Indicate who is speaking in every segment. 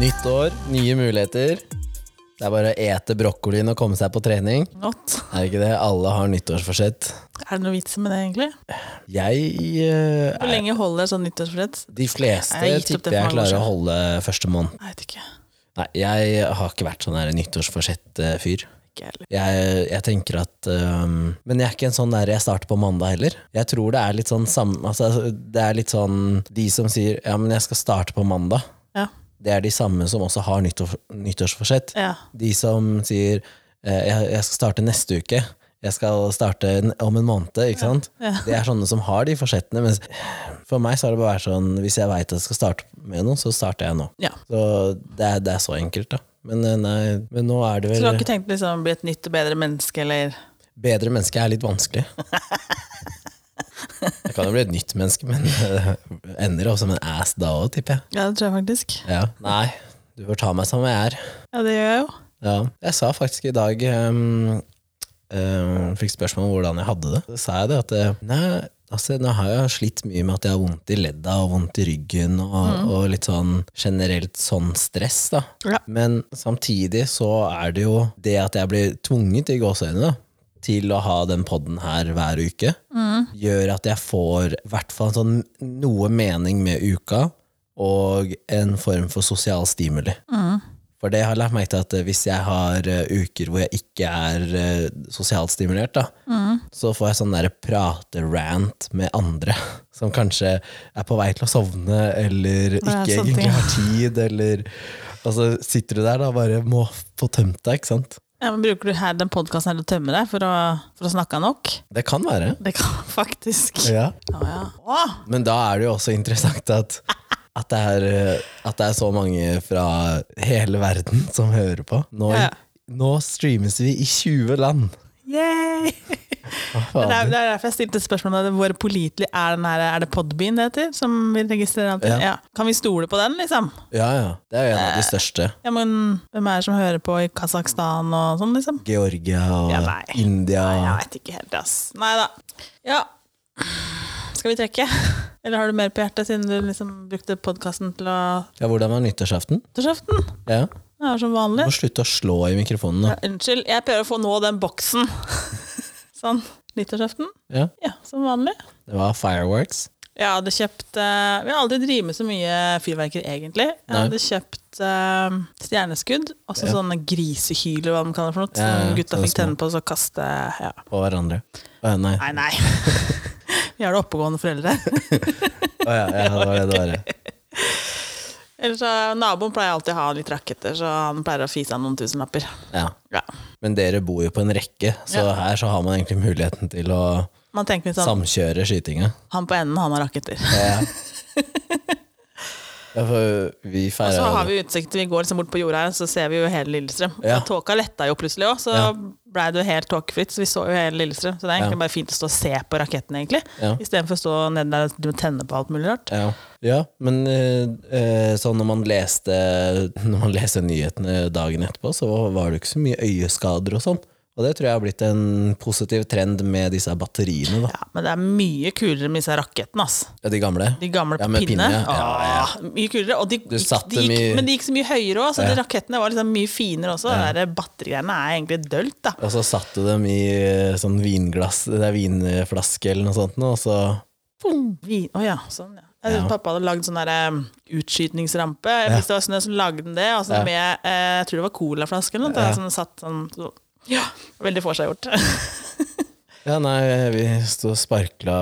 Speaker 1: Nytt år, nye muligheter. Det er bare å ete brokkolien og komme seg på trening.
Speaker 2: Godt.
Speaker 1: Er det ikke det? Alle har nyttårsforsett.
Speaker 2: Er det noe vits med det, egentlig?
Speaker 1: Jeg eh,
Speaker 2: Hvor
Speaker 1: er,
Speaker 2: lenge holder sånn nyttårsforsett?
Speaker 1: De fleste
Speaker 2: Jeg har gitt opp det
Speaker 1: tipper jeg
Speaker 2: for mange år
Speaker 1: klarer å holde første måned.
Speaker 2: Jeg vet ikke.
Speaker 1: Nei, jeg har ikke vært sånn der nyttårsforsett-fyr.
Speaker 2: ikke heller.
Speaker 1: Jeg, jeg tenker at øhm, Men jeg er ikke en sånn der jeg starter på mandag heller. Jeg tror det er litt sånn sam, altså, Det er litt sånn De som sier ja, men jeg skal starte på mandag,
Speaker 2: Ja.
Speaker 1: det er de samme som også har nyttår, nyttårsforsett.
Speaker 2: ja.
Speaker 1: De som sier eh, jeg, jeg skal starte neste uke, jeg skal starte n- om en måned, ikke sant? Det er sånne som har de forsettene. Mens for meg så har det bare vært sånn hvis jeg veit at jeg skal starte med noe, så starter jeg nå.
Speaker 2: ja.
Speaker 1: Så det er, det er så enkelt, da. Men, eh, nei, men nå er det
Speaker 2: Så du har
Speaker 1: vel
Speaker 2: ikke tenkt liksom, å bli et nytt og bedre menneske, eller
Speaker 1: Bedre menneske er litt vanskelig. Jeg kan jo bli et nytt menneske, men eh, ender opp som en ass da òg, tipper jeg.
Speaker 2: Ja, det tror jeg faktisk.
Speaker 1: Ja. Nei, du får ta meg som jeg er.
Speaker 2: Ja, det gjør jeg jo.
Speaker 1: Ja. Jeg sa faktisk i dag um, um, Fikk spørsmål om hvordan jeg hadde det. Så sa jeg det at eh, Nei, altså nå har jeg slitt mye med at jeg har vondt i ledda og vondt i ryggen og, og litt sånn generelt sånn stress, da.
Speaker 2: Ja.
Speaker 1: Men samtidig så er det jo det at jeg blir tvunget i gåseøynene da, til å ha den podden her hver uke, gjør at jeg får i hvert fall sånn noe mening med uka, og en form for sosial stimuli. For det har jeg lært meg til at eh, hvis jeg har eh, uker hvor jeg ikke er eh, sosialt stimulert, da,
Speaker 2: Mm.
Speaker 1: så får jeg sånn der prate-rant med andre som kanskje er på vei til å sovne, eller
Speaker 2: Ja,
Speaker 1: ikke
Speaker 2: sånne
Speaker 1: egentlig
Speaker 2: ting.
Speaker 1: har tid, eller Og så sitter du der da og bare må få tømt deg, ikke sant?
Speaker 2: Ja, men Bruker du her den podkasten her til å tømme deg for å, for å snakke nok?
Speaker 1: Det kan være.
Speaker 2: Det kan faktisk.
Speaker 1: Ja.
Speaker 2: Å, ja. Å,
Speaker 1: Men da er det jo også interessant at, at, det er, eh, at det er så mange fra hele verden som hører på. Nå,
Speaker 2: Ja.
Speaker 1: nå streames vi i 20 land.
Speaker 2: yay!
Speaker 1: Hva
Speaker 2: Det er,
Speaker 1: fader?
Speaker 2: det er derfor jeg stilte spørsmål om det. hvor pålitelig er den her Er det Podbean det heter? Som vi registrerer alltid?
Speaker 1: Ja.
Speaker 2: Ja. Kan vi stole på den, liksom?
Speaker 1: Ja, ja. Det er jo en av
Speaker 2: Eh.
Speaker 1: de største.
Speaker 2: Ja, men hvem er det som hører på i Kasakhstan og sånn, liksom?
Speaker 1: Georgia og
Speaker 2: Ja, nei.
Speaker 1: India.
Speaker 2: Nei, jeg veit ikke helt, ass. Nei da. Ja. Skal vi trekke? Eller har du mer på hjertet, siden du liksom brukte podkasten til å
Speaker 1: Ja, hvordan var nyttårsaften?
Speaker 2: Nyttårsaften?
Speaker 1: Ja.
Speaker 2: Det er som
Speaker 1: Du
Speaker 2: vanlig.
Speaker 1: må slutte å slå i mikrofonen nå.
Speaker 2: Ja, unnskyld, jeg prøver å få nå den boksen. sånn. Nyttårsaften?
Speaker 1: Ja.
Speaker 2: Ja, som vanlig.
Speaker 1: Det var fireworks.
Speaker 2: Jeg hadde kjøpt eh, Vi har aldri drevet med så mye fyrverkeri, egentlig. Jeg
Speaker 1: Nei.
Speaker 2: hadde kjøpt eh, stjerneskudd, og så sånne grisehyler, hva de kaller det for noe.
Speaker 1: Ja, ja,
Speaker 2: som gutta
Speaker 1: sånne
Speaker 2: fikk
Speaker 1: små.
Speaker 2: tenne på, og så kaste Ja.
Speaker 1: På hverandre. Å ja, nei.
Speaker 2: Nei, nei. Vi har da oppegående foreldre.
Speaker 1: Å ja, ja, det var det det var. ja.
Speaker 2: Ellers så Naboen pleier alltid å ha litt raketter, så han pleier å fise av noen tusenlapper.
Speaker 1: Ja.
Speaker 2: Ja.
Speaker 1: Men dere bor jo på en rekke, så
Speaker 2: Ja.
Speaker 1: her så har man egentlig muligheten til å
Speaker 2: Man tenker litt sånn
Speaker 1: samkjøre skytinga.
Speaker 2: Han på enden, han har raketter.
Speaker 1: Ja. Ja, for vi
Speaker 2: Og så har
Speaker 1: feira
Speaker 2: vi utsikt. Vi går liksom bort på jorda her, så ser vi jo hele Lillestrøm.
Speaker 1: Ja.
Speaker 2: Og tåka letta jo plutselig òg, så
Speaker 1: Ja.
Speaker 2: blei det jo helt tåkefritt. Så vi så jo hele Lillestrøm. Så det er egentlig bare fint å stå og se på raketten, egentlig.
Speaker 1: Ja.
Speaker 2: Istedenfor å stå nede der og tenne på alt mulig rart.
Speaker 1: ja. ja, men eh, eh, sånn når man leste Når man leste nyhetene dagen etterpå, så var det jo ikke så mye øyeskader og sånn. Og det tror jeg har blitt en positiv trend med disse batteriene, da.
Speaker 2: Ja, men det er mye kulere med disse rakettene, ass.
Speaker 1: Ja, de gamle.
Speaker 2: De gamle
Speaker 1: Ja,
Speaker 2: på
Speaker 1: med
Speaker 2: pinne.
Speaker 1: pinne, ja.
Speaker 2: Åh,
Speaker 1: Ja,
Speaker 2: Mye kulere. Og de,
Speaker 1: Du
Speaker 2: gikk,
Speaker 1: satte
Speaker 2: de gikk,
Speaker 1: mye-
Speaker 2: Men de gikk så mye høyere òg, så
Speaker 1: Ja.
Speaker 2: de rakettene var liksom mye finere også. Det der batterigreiene er egentlig dølt, da.
Speaker 1: Og så satte du dem i eh, sånn vinglass, det er vinflaske eller noe sånt, nå, og så
Speaker 2: Boom. Vi- Å ja, sånn, ja. Jeg synes
Speaker 1: Ja.
Speaker 2: Pappa hadde lagd sånn der, em, utskytningsrampe. Hvis det var snø, så lagde han det. Og så
Speaker 1: Ja.
Speaker 2: med, eh, jeg tror det var colaflaske eller noe.
Speaker 1: Ja.
Speaker 2: Som satt sånn, så, ja, veldig forseggjort.
Speaker 1: Ja, nei, vi sto og sparkla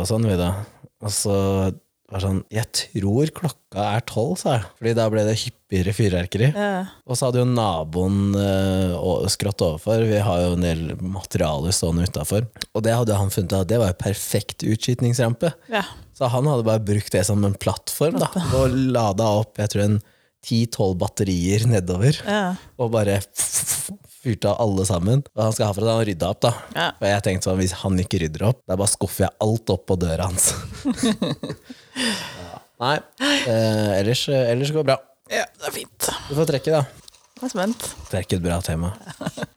Speaker 1: og sånn, vi da. Og så var det sånn Jeg tror klokka er tolv, sa jeg. Fordi da ble det hyppigere fyrverkeri.
Speaker 2: Eh,
Speaker 1: Og så hadde jo naboen eh, å- skrått overfor. Vi har jo en del materialer stående utafor. Og det hadde han funnet ut at det var jo perfekt utskytningsrampe.
Speaker 2: ja.
Speaker 1: Så han hadde bare brukt det som en plattform, da. Og lada opp jeg tror en ti-tolv batterier nedover.
Speaker 2: Ja.
Speaker 1: Og bare fyrte av alle sammen. Og han skal ha for at han rydda opp, da.
Speaker 2: Ja.
Speaker 1: Og jeg tenkte sånn, hvis han ikke rydder opp, da bare skuffer jeg alt opp på døra hans. Ja. Nei, eh, ellers, ellers går det bra.
Speaker 2: ja, det er fint.
Speaker 1: Du får trekke, da.
Speaker 2: Jeg er spent.
Speaker 1: Trekk et bra tema.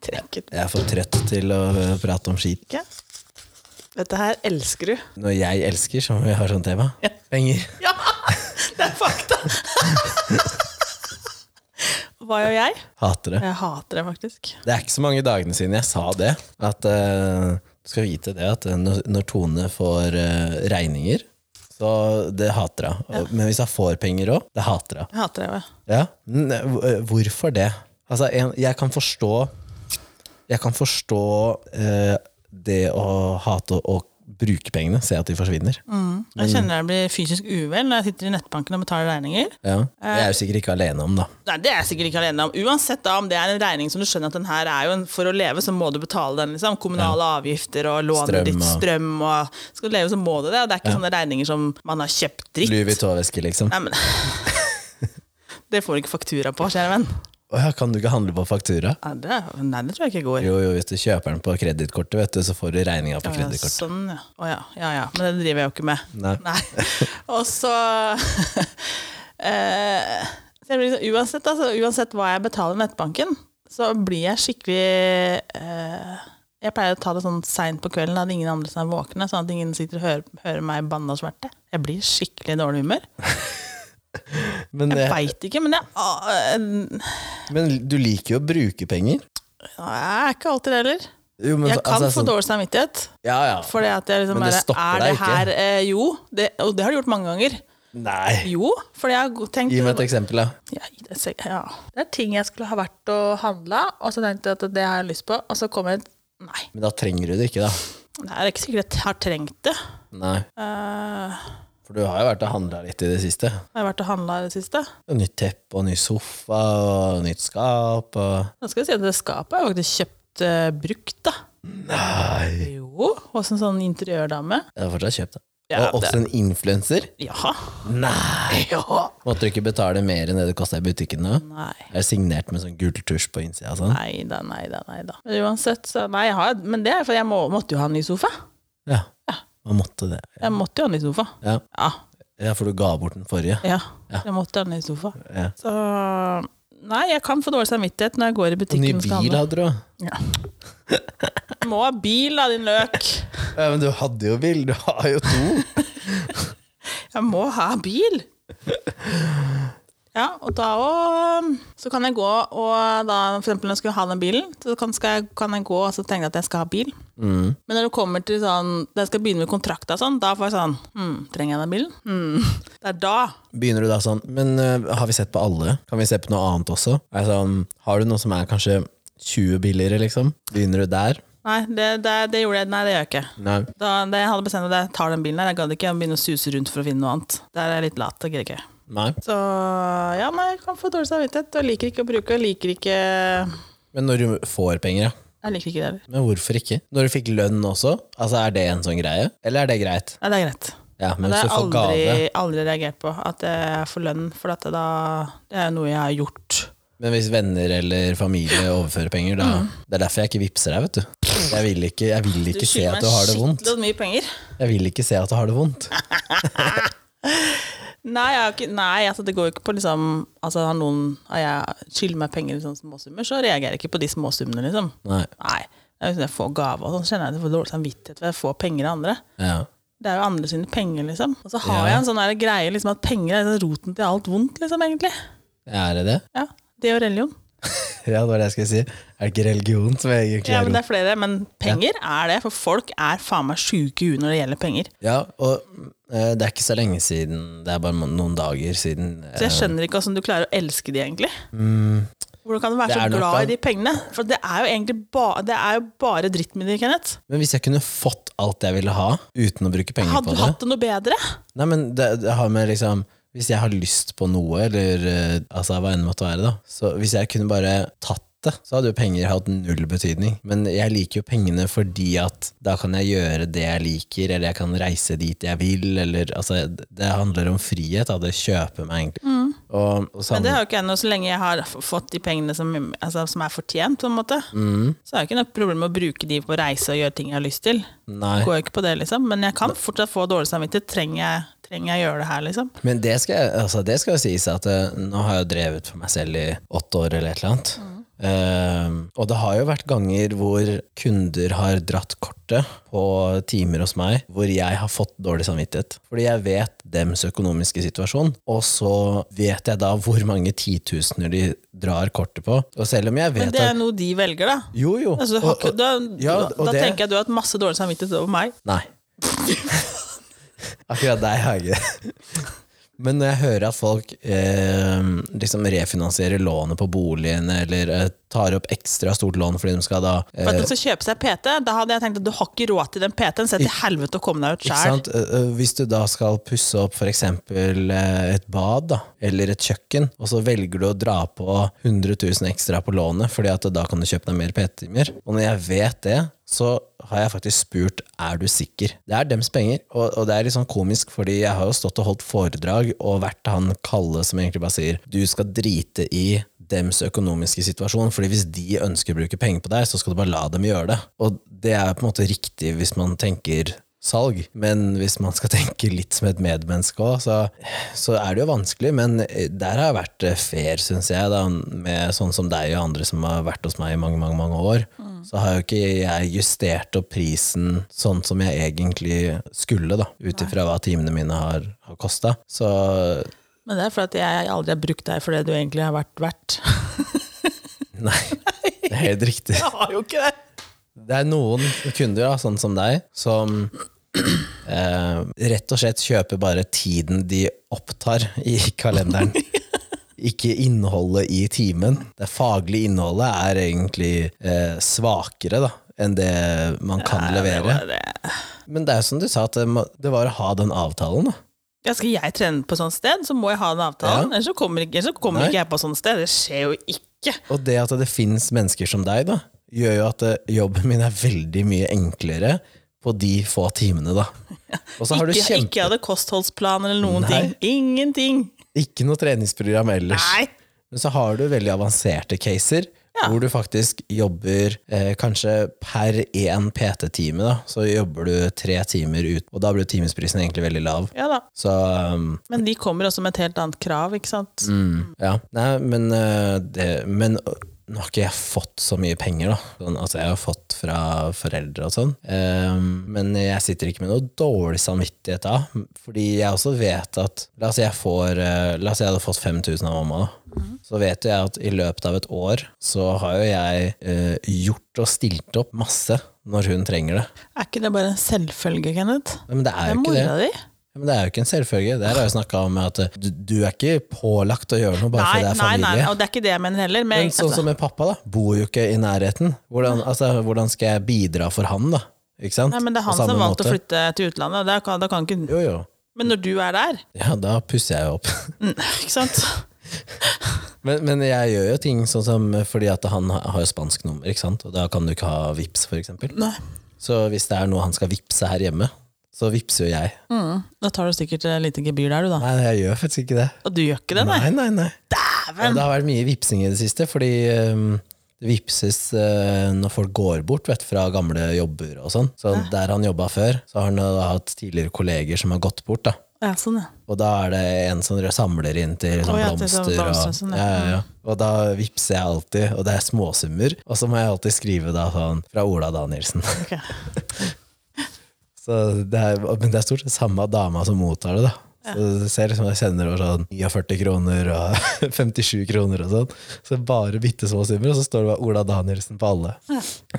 Speaker 2: Trekket
Speaker 1: Jeg er for trøtt til å prate om skit.
Speaker 2: ikke. Dette her elsker du.
Speaker 1: Når jeg elsker, sånn så må vi ha sånt tema.
Speaker 2: Ja.
Speaker 1: Penger.
Speaker 2: Ja! Det er fakta! hva gjør jeg?
Speaker 1: Hater det.
Speaker 2: Jeg hater det faktisk.
Speaker 1: Det er ikke så mange dagene siden jeg sa det. At eh, Du skal vite det at eh, når, når Tone får eh, regninger, så det hater hun. Og- Men hvis hun får penger òg, det hater hun.
Speaker 2: Jeg hater det. jo.
Speaker 1: Ja. Men, eh, hvor- eh, Hvorfor det? Altså, en, jeg kan forstå Jeg kan forstå eh, det å hate å, å bruke pengene, se at de forsvinner.
Speaker 2: Mm.
Speaker 1: Mm.
Speaker 2: Jeg kjenner jeg blir fysisk uvel når jeg sitter i nettbanken og betaler regninger.
Speaker 1: Ja. Jeg
Speaker 2: Eh,
Speaker 1: er jo sikkert ikke alene om, da.
Speaker 2: Nei, Det er jeg sikkert ikke alene om. Uansett da, om det er en regning som du skjønner at den her er jo en, for å leve, så må du betale den. liksom. Kommunale avgifter og lånet
Speaker 1: Strøm
Speaker 2: ditt,
Speaker 1: og-
Speaker 2: strøm og Skal du leve, så må du det. Og det er ikke sånne regninger som man har kjøpt dritt.
Speaker 1: Louis Vuitton-veske, liksom.
Speaker 2: Nei, men... det får du ikke faktura på, kjære venn.
Speaker 1: Å ja, kan du ikke handle på faktura?
Speaker 2: Nei, det, nei, det tror jeg ikke går.
Speaker 1: Jo, jo, hvis du kjøper den på kredittkortet, vet du, så får du regninga på
Speaker 2: Ja,
Speaker 1: kredittkortet.
Speaker 2: Sånn, ja. Å ja. ja, ja. Men det driver jeg jo ikke med.
Speaker 1: Nei.
Speaker 2: Og så eh, så jeg blir liksom, uansett, altså, uansett hva jeg betaler nettbanken, så blir jeg skikkelig eh, Jeg pleier å ta det sånn seint på kvelden, at ingen andre som er våkne, sånn at ingen sitter og hører, hører meg banne og sverte. Jeg blir skikkelig i dårlig humør.
Speaker 1: Men,
Speaker 2: Jeg
Speaker 1: det,
Speaker 2: veit ikke, men jeg, ah, eh,
Speaker 1: men du liker jo å bruke penger.
Speaker 2: jeg er ikke alltid det heller.
Speaker 1: Jo, men
Speaker 2: Jeg
Speaker 1: så-
Speaker 2: kan
Speaker 1: altså,
Speaker 2: få
Speaker 1: sånn-
Speaker 2: dårlig samvittighet.
Speaker 1: Ja, ja.
Speaker 2: Fordi at jeg liksom
Speaker 1: Men det
Speaker 2: bare,
Speaker 1: stopper
Speaker 2: er det
Speaker 1: deg ikke.
Speaker 2: her, eh, Jo, det, og det har du gjort mange ganger.
Speaker 1: Nei.
Speaker 2: Jo, fordi jeg har go- tenkt
Speaker 1: Gi meg et eksempel, da.
Speaker 2: ja, gi det, seg- ja. Det er ting jeg skulle ha vært og handla, og så tenkte jeg at det har jeg lyst på, og så kommer jeg Nei,
Speaker 1: Men da trenger du det ikke, da.
Speaker 2: det er ikke sikkert jeg har trengt det.
Speaker 1: Nei.
Speaker 2: Eh,
Speaker 1: For du har jo vært og handla litt i det siste.
Speaker 2: har jeg vært og handla i det siste?
Speaker 1: Og Nytt teppe og ny sofa og nytt skap og
Speaker 2: Nå skal jeg si at det skapet har jeg faktisk kjøpt eh, brukt, da.
Speaker 1: Nei.
Speaker 2: Jo, hos en sånn interiørdame.
Speaker 1: Jeg har fortsatt kjøpt det.
Speaker 2: Ja,
Speaker 1: og
Speaker 2: det-
Speaker 1: også en influenser?
Speaker 2: Ja.
Speaker 1: Nei!
Speaker 2: ja.
Speaker 1: Måtte du ikke betale mer enn det det kosta i butikken? da?
Speaker 2: Nei.
Speaker 1: Er det signert med sånn gul tusj på innsida? og Sånn?
Speaker 2: Nei da, nei da, nei da. Uansett, så Nei, jeg har, men det er for jeg må, måtte jo ha en ny sofa.
Speaker 1: Ja. Man måtte det.
Speaker 2: Jeg måtte jo ha en ny sofa.
Speaker 1: Ja.
Speaker 2: Ja.
Speaker 1: ja, for du ga bort den forrige.
Speaker 2: ja. Jeg måtte ha en ny sofa.
Speaker 1: Ja.
Speaker 2: Så Nei, jeg kan få dårlig samvittighet når jeg går i
Speaker 1: Og ny
Speaker 2: butikken. og skal
Speaker 1: bil
Speaker 2: handle.
Speaker 1: hadde du òg.
Speaker 2: Du må ha bil, da, din løk!
Speaker 1: Ja, men du hadde jo bil. Du har jo to.
Speaker 2: Jeg må ha bil! Ja, og da òg Så kan jeg gå og da For eksempel når jeg skulle ha den bilen, så kan, skal jeg, kan jeg gå og så tenke at jeg skal ha bil.
Speaker 1: Mm.
Speaker 2: Men når det kommer til sånn Da jeg skal begynne med kontrakta og sånn, da får jeg sånn hm, Trenger jeg den bilen? Hm. Det er da.
Speaker 1: Begynner du da sånn Men øh, har vi sett på alle? Kan vi se på noe annet også? Er det sånn, har du noe som er kanskje 20 billigere, liksom? Begynner du der?
Speaker 2: Nei, det, det, det gjorde jeg. Nei, det gjør jeg ikke.
Speaker 1: Nei.
Speaker 2: Da, da jeg hadde bestemt meg, jeg tar den bilen der. Jeg gadd ikke å begynne å suse rundt for å finne noe annet. Der er jeg litt lat. Det gidder jeg ikke.
Speaker 1: Nei.
Speaker 2: Så ja, nei, jeg kan få dårlig samvittighet. Og liker ikke å bruke, og liker ikke Jeg
Speaker 1: Men når du får penger, ja.
Speaker 2: liker ikke det heller.
Speaker 1: Men hvorfor ikke? Når du fikk lønn også, altså er det en sånn greie? Eller er det greit?
Speaker 2: Nei, det er greit.
Speaker 1: Ja, men
Speaker 2: Det
Speaker 1: hvis du
Speaker 2: har jeg
Speaker 1: får
Speaker 2: aldri,
Speaker 1: gave
Speaker 2: aldri reagert på, at jeg får lønn. For at det da, det er jo noe jeg har gjort.
Speaker 1: Men hvis venner eller familie overfører penger, da
Speaker 2: Mm.
Speaker 1: Det er derfor jeg ikke vippser deg, vet du. Jeg vil ikke, jeg vil ikke se at du har det vondt.
Speaker 2: skikkelig mye penger.
Speaker 1: Jeg vil ikke se at du har det vondt.
Speaker 2: Nei, jeg har ikke, nei altså, det går jo ikke på liksom Altså, har noen har jeg skylder meg penger i sånne småsummer, så reagerer jeg ikke på de småsummene, liksom.
Speaker 1: Nei.
Speaker 2: Nei. Det er jo sånn, Jeg får gave og sånn, så kjenner jeg at jeg får dårlig samvittighet for jeg får penger av andre.
Speaker 1: Ja.
Speaker 2: Det er jo andre sine penger, liksom. Og så har
Speaker 1: Ja.
Speaker 2: jeg en sånn der greie liksom, at penger er roten til alt vondt, liksom, egentlig.
Speaker 1: Er det det?
Speaker 2: Ja, Det og religion.
Speaker 1: Ja, det var det jeg skulle si. Er det ikke religion som jeg egentlig
Speaker 2: Ja,
Speaker 1: er
Speaker 2: men Det er flere, men penger er det. For folk er faen meg sjuke i huet når det gjelder penger.
Speaker 1: Ja, og eh, det er ikke så lenge siden, det er bare noen dager siden. eh, Mm.
Speaker 2: Så jeg skjønner ikke hvordan du klarer å elske de, egentlig. Hvordan kan du
Speaker 1: Det
Speaker 2: være
Speaker 1: er
Speaker 2: så
Speaker 1: nok
Speaker 2: glad
Speaker 1: av-
Speaker 2: i de pengene? For det er jo egentlig ba, det er jo bare dritt med de, Kenneth.
Speaker 1: Men hvis jeg kunne fått alt jeg ville ha, uten å bruke penger
Speaker 2: Hadde
Speaker 1: på
Speaker 2: du
Speaker 1: det
Speaker 2: hatt det noe bedre?
Speaker 1: Nei, men det, det har med liksom Hvis jeg har lyst på noe, eller eh, altså, hva enn det måtte være, da. Så hvis jeg kunne bare tatt det, så hadde jo penger hatt null betydning. Men jeg liker jo pengene fordi at da kan jeg gjøre det jeg liker, eller jeg kan reise dit jeg vil, eller altså Det handler om frihet, da. Det kjøper meg egentlig. Og, og
Speaker 2: Mm. Men det
Speaker 1: samme,
Speaker 2: har jo ikke jeg noe så lenge jeg har f- fått de pengene som, altså, som er fortjent, på en måte.
Speaker 1: Mm.
Speaker 2: Så har jeg ikke noe problem med å bruke de på å reise og gjøre ting jeg har lyst til.
Speaker 1: nei.
Speaker 2: går jo ikke på det, liksom. Men jeg kan fortsatt få dårlig samvittighet. Trenger jeg, trenger jeg gjøre det her, liksom?
Speaker 1: Men det skal, jeg- altså det skal jo sies at eh, nå har jeg jo drevet for meg selv i åtte år eller et eller annet. Eh, og det har jo vært ganger hvor kunder har dratt kortet på timer hos meg, hvor jeg har fått dårlig samvittighet. Fordi jeg vet dems økonomiske situasjon, og så vet jeg da hvor mange titusener de drar kortet på. Og selv om jeg
Speaker 2: Men
Speaker 1: vet
Speaker 2: det er
Speaker 1: at
Speaker 2: noe de velger, da.
Speaker 1: Jo, jo.
Speaker 2: Altså, har
Speaker 1: og-
Speaker 2: ikke- da
Speaker 1: ja,
Speaker 2: da,
Speaker 1: og
Speaker 2: da
Speaker 1: det-
Speaker 2: tenker jeg at du har hatt masse dårlig samvittighet over meg.
Speaker 1: Nei. Akkurat deg har jeg ikke det. Men når jeg hører at folk eh, liksom refinansierer lånet på boligen, eller eh, tar opp ekstra stort lån fordi de skal da eh,
Speaker 2: For at de skal kjøpe seg PT, da hadde jeg tenkt at du har ikke råd til den PT-en, se til helvete og komme deg ut
Speaker 1: Ikke
Speaker 2: sjæl.
Speaker 1: sant? Eh, eh, Hvis du da skal pusse opp f.eks. et bad da, eller et kjøkken, og så velger du å dra på 100 000 ekstra på lånet, fordi at da kan du kjøpe deg mer PT-timer. Og når jeg vet det, så har jeg faktisk spurt er du sikker. Det er dems penger, og, og det er litt sånn komisk, fordi jeg har jo stått og holdt foredrag og vært han Kalle som egentlig bare sier du skal drite i dems økonomiske situasjon, fordi hvis de ønsker å bruke penger på deg, så skal du bare la dem gjøre det. Og det er på en måte riktig hvis man tenker salg. Men hvis man skal tenke litt som et medmenneske òg, så, så er det jo vanskelig. Men der har jeg vært eh, fair, syns jeg, da, med sånn som deg og andre som har vært hos meg i mange, mange, mange år. Så har jo ikke jeg justert opp prisen sånn som jeg egentlig skulle, da, ut ifra hva timene mine har, har kosta. Så
Speaker 2: Men det er fordi at jeg aldri har brukt deg for det du egentlig har vært verdt.
Speaker 1: nei, det er helt riktig.
Speaker 2: Jeg har jo ikke det!
Speaker 1: Det er noen kunder, da, sånn som deg, som eh, rett og slett kjøper bare tiden de opptar i kalenderen. Ikke innholdet i timen. Det faglige innholdet er egentlig eh, svakere da, enn det man kan levere.
Speaker 2: Det- det-
Speaker 1: Men det er jo som du sa, at det, må, det var å ha den avtalen. Da.
Speaker 2: Ja, skal jeg trene på sånt sted, så må jeg ha den avtalen. Ellers så kommer, ikke, ellers så kommer
Speaker 1: Nei.
Speaker 2: ikke jeg på sånt sted. Det skjer jo ikke.
Speaker 1: Og det at det finnes mennesker som deg, da, gjør jo at eh, jobben min er veldig mye enklere på de få timene. da. Og så har du
Speaker 2: Ikke,
Speaker 1: kjempe...
Speaker 2: ikke jeg hadde kostholdsplan eller noen
Speaker 1: Nei.
Speaker 2: ting. Ingenting.
Speaker 1: Ikke noe treningsprogram ellers.
Speaker 2: Nei.
Speaker 1: Men så har du veldig avanserte caser,
Speaker 2: Ja.
Speaker 1: hvor du faktisk jobber eh, kanskje per én PT-time. da, Så jobber du tre timer ut, og da blir timesprisen egentlig veldig lav.
Speaker 2: Ja da.
Speaker 1: Så um,
Speaker 2: Men de kommer også med et helt annet krav, ikke sant?
Speaker 1: Mm. ja. Nei, men, eh, det, men øh, nå har ikke jeg fått så mye penger, da. Sånn, altså, jeg har fått fra foreldre og sånn. Ehm, men jeg sitter ikke med noe dårlig samvittighet da. Fordi jeg også vet at La oss si jeg, får, eh, la oss si jeg hadde fått 5000 av mamma. da.
Speaker 2: Mm.
Speaker 1: Så vet jeg at i løpet av et år så har jo jeg eh, gjort og stilt opp masse når hun trenger det.
Speaker 2: Er ikke det bare en selvfølge, Kenneth?
Speaker 1: Men det er
Speaker 2: Det er
Speaker 1: jo ikke det.
Speaker 2: mora di.
Speaker 1: Ja, Men det er jo ikke en selvfølge. Det her har jeg snakka om at eh, du, du er ikke pålagt å gjøre noe bare fordi det er
Speaker 2: nei,
Speaker 1: familie.
Speaker 2: nei, og det er ikke det jeg mener heller. Men, altså,
Speaker 1: Men sånn som med pappa, da. Bor jo ikke i nærheten. Hvordan, altså, hvordan skal jeg bidra for han, da? Ikke sant?
Speaker 2: Nei, men det er han
Speaker 1: På samme
Speaker 2: som valgte å
Speaker 1: måte.
Speaker 2: flytte til utlandet. og Da kan, da kan ikke,
Speaker 1: Jo, jo.
Speaker 2: men når du er der
Speaker 1: Ja, da pusser jeg jo opp.
Speaker 2: mm, Ikke sant?
Speaker 1: Men, men jeg gjør jo ting sånn som fordi at han har har jo spansk nummer, ikke sant? og da kan du ikke ha vips, for eksempel.
Speaker 2: Nei.
Speaker 1: Så hvis det er noe han skal vipse her hjemme, så vipser jo jeg.
Speaker 2: Mm, da tar du sikkert et lite gebyr der, du, da.
Speaker 1: Nei, jeg gjør faktisk ikke det.
Speaker 2: Og du gjør ikke det, nei?
Speaker 1: Nei, nei, nei. Ja,
Speaker 2: Dæven!
Speaker 1: det har vært mye vipsing i det siste, fordi ehm, det vipses eh, når folk går bort vet, du, fra gamle jobber og sånn. Så der han jobba før, så har han da hatt tidligere kolleger som har gått bort. da.
Speaker 2: Ja, sånn, ja.
Speaker 1: Og da er det en som samler inn til sånn
Speaker 2: Å, ja, til
Speaker 1: blomster.
Speaker 2: sånn blomster og
Speaker 1: og,
Speaker 2: sånn, ja.
Speaker 1: ja, ja, ja. og da vipser jeg alltid, og det er småsummer. Og så må jeg alltid skrive da sånn fra Ola Danielsen.
Speaker 2: ok.
Speaker 1: Så det er, men det er stort sett samme dama som mottar det, da. Så du ser liksom jeg sender over sånn 49 kroner og 57 kroner og sånn. Så bare bitte små summer, og så står det bare Ola Danielsen på alle.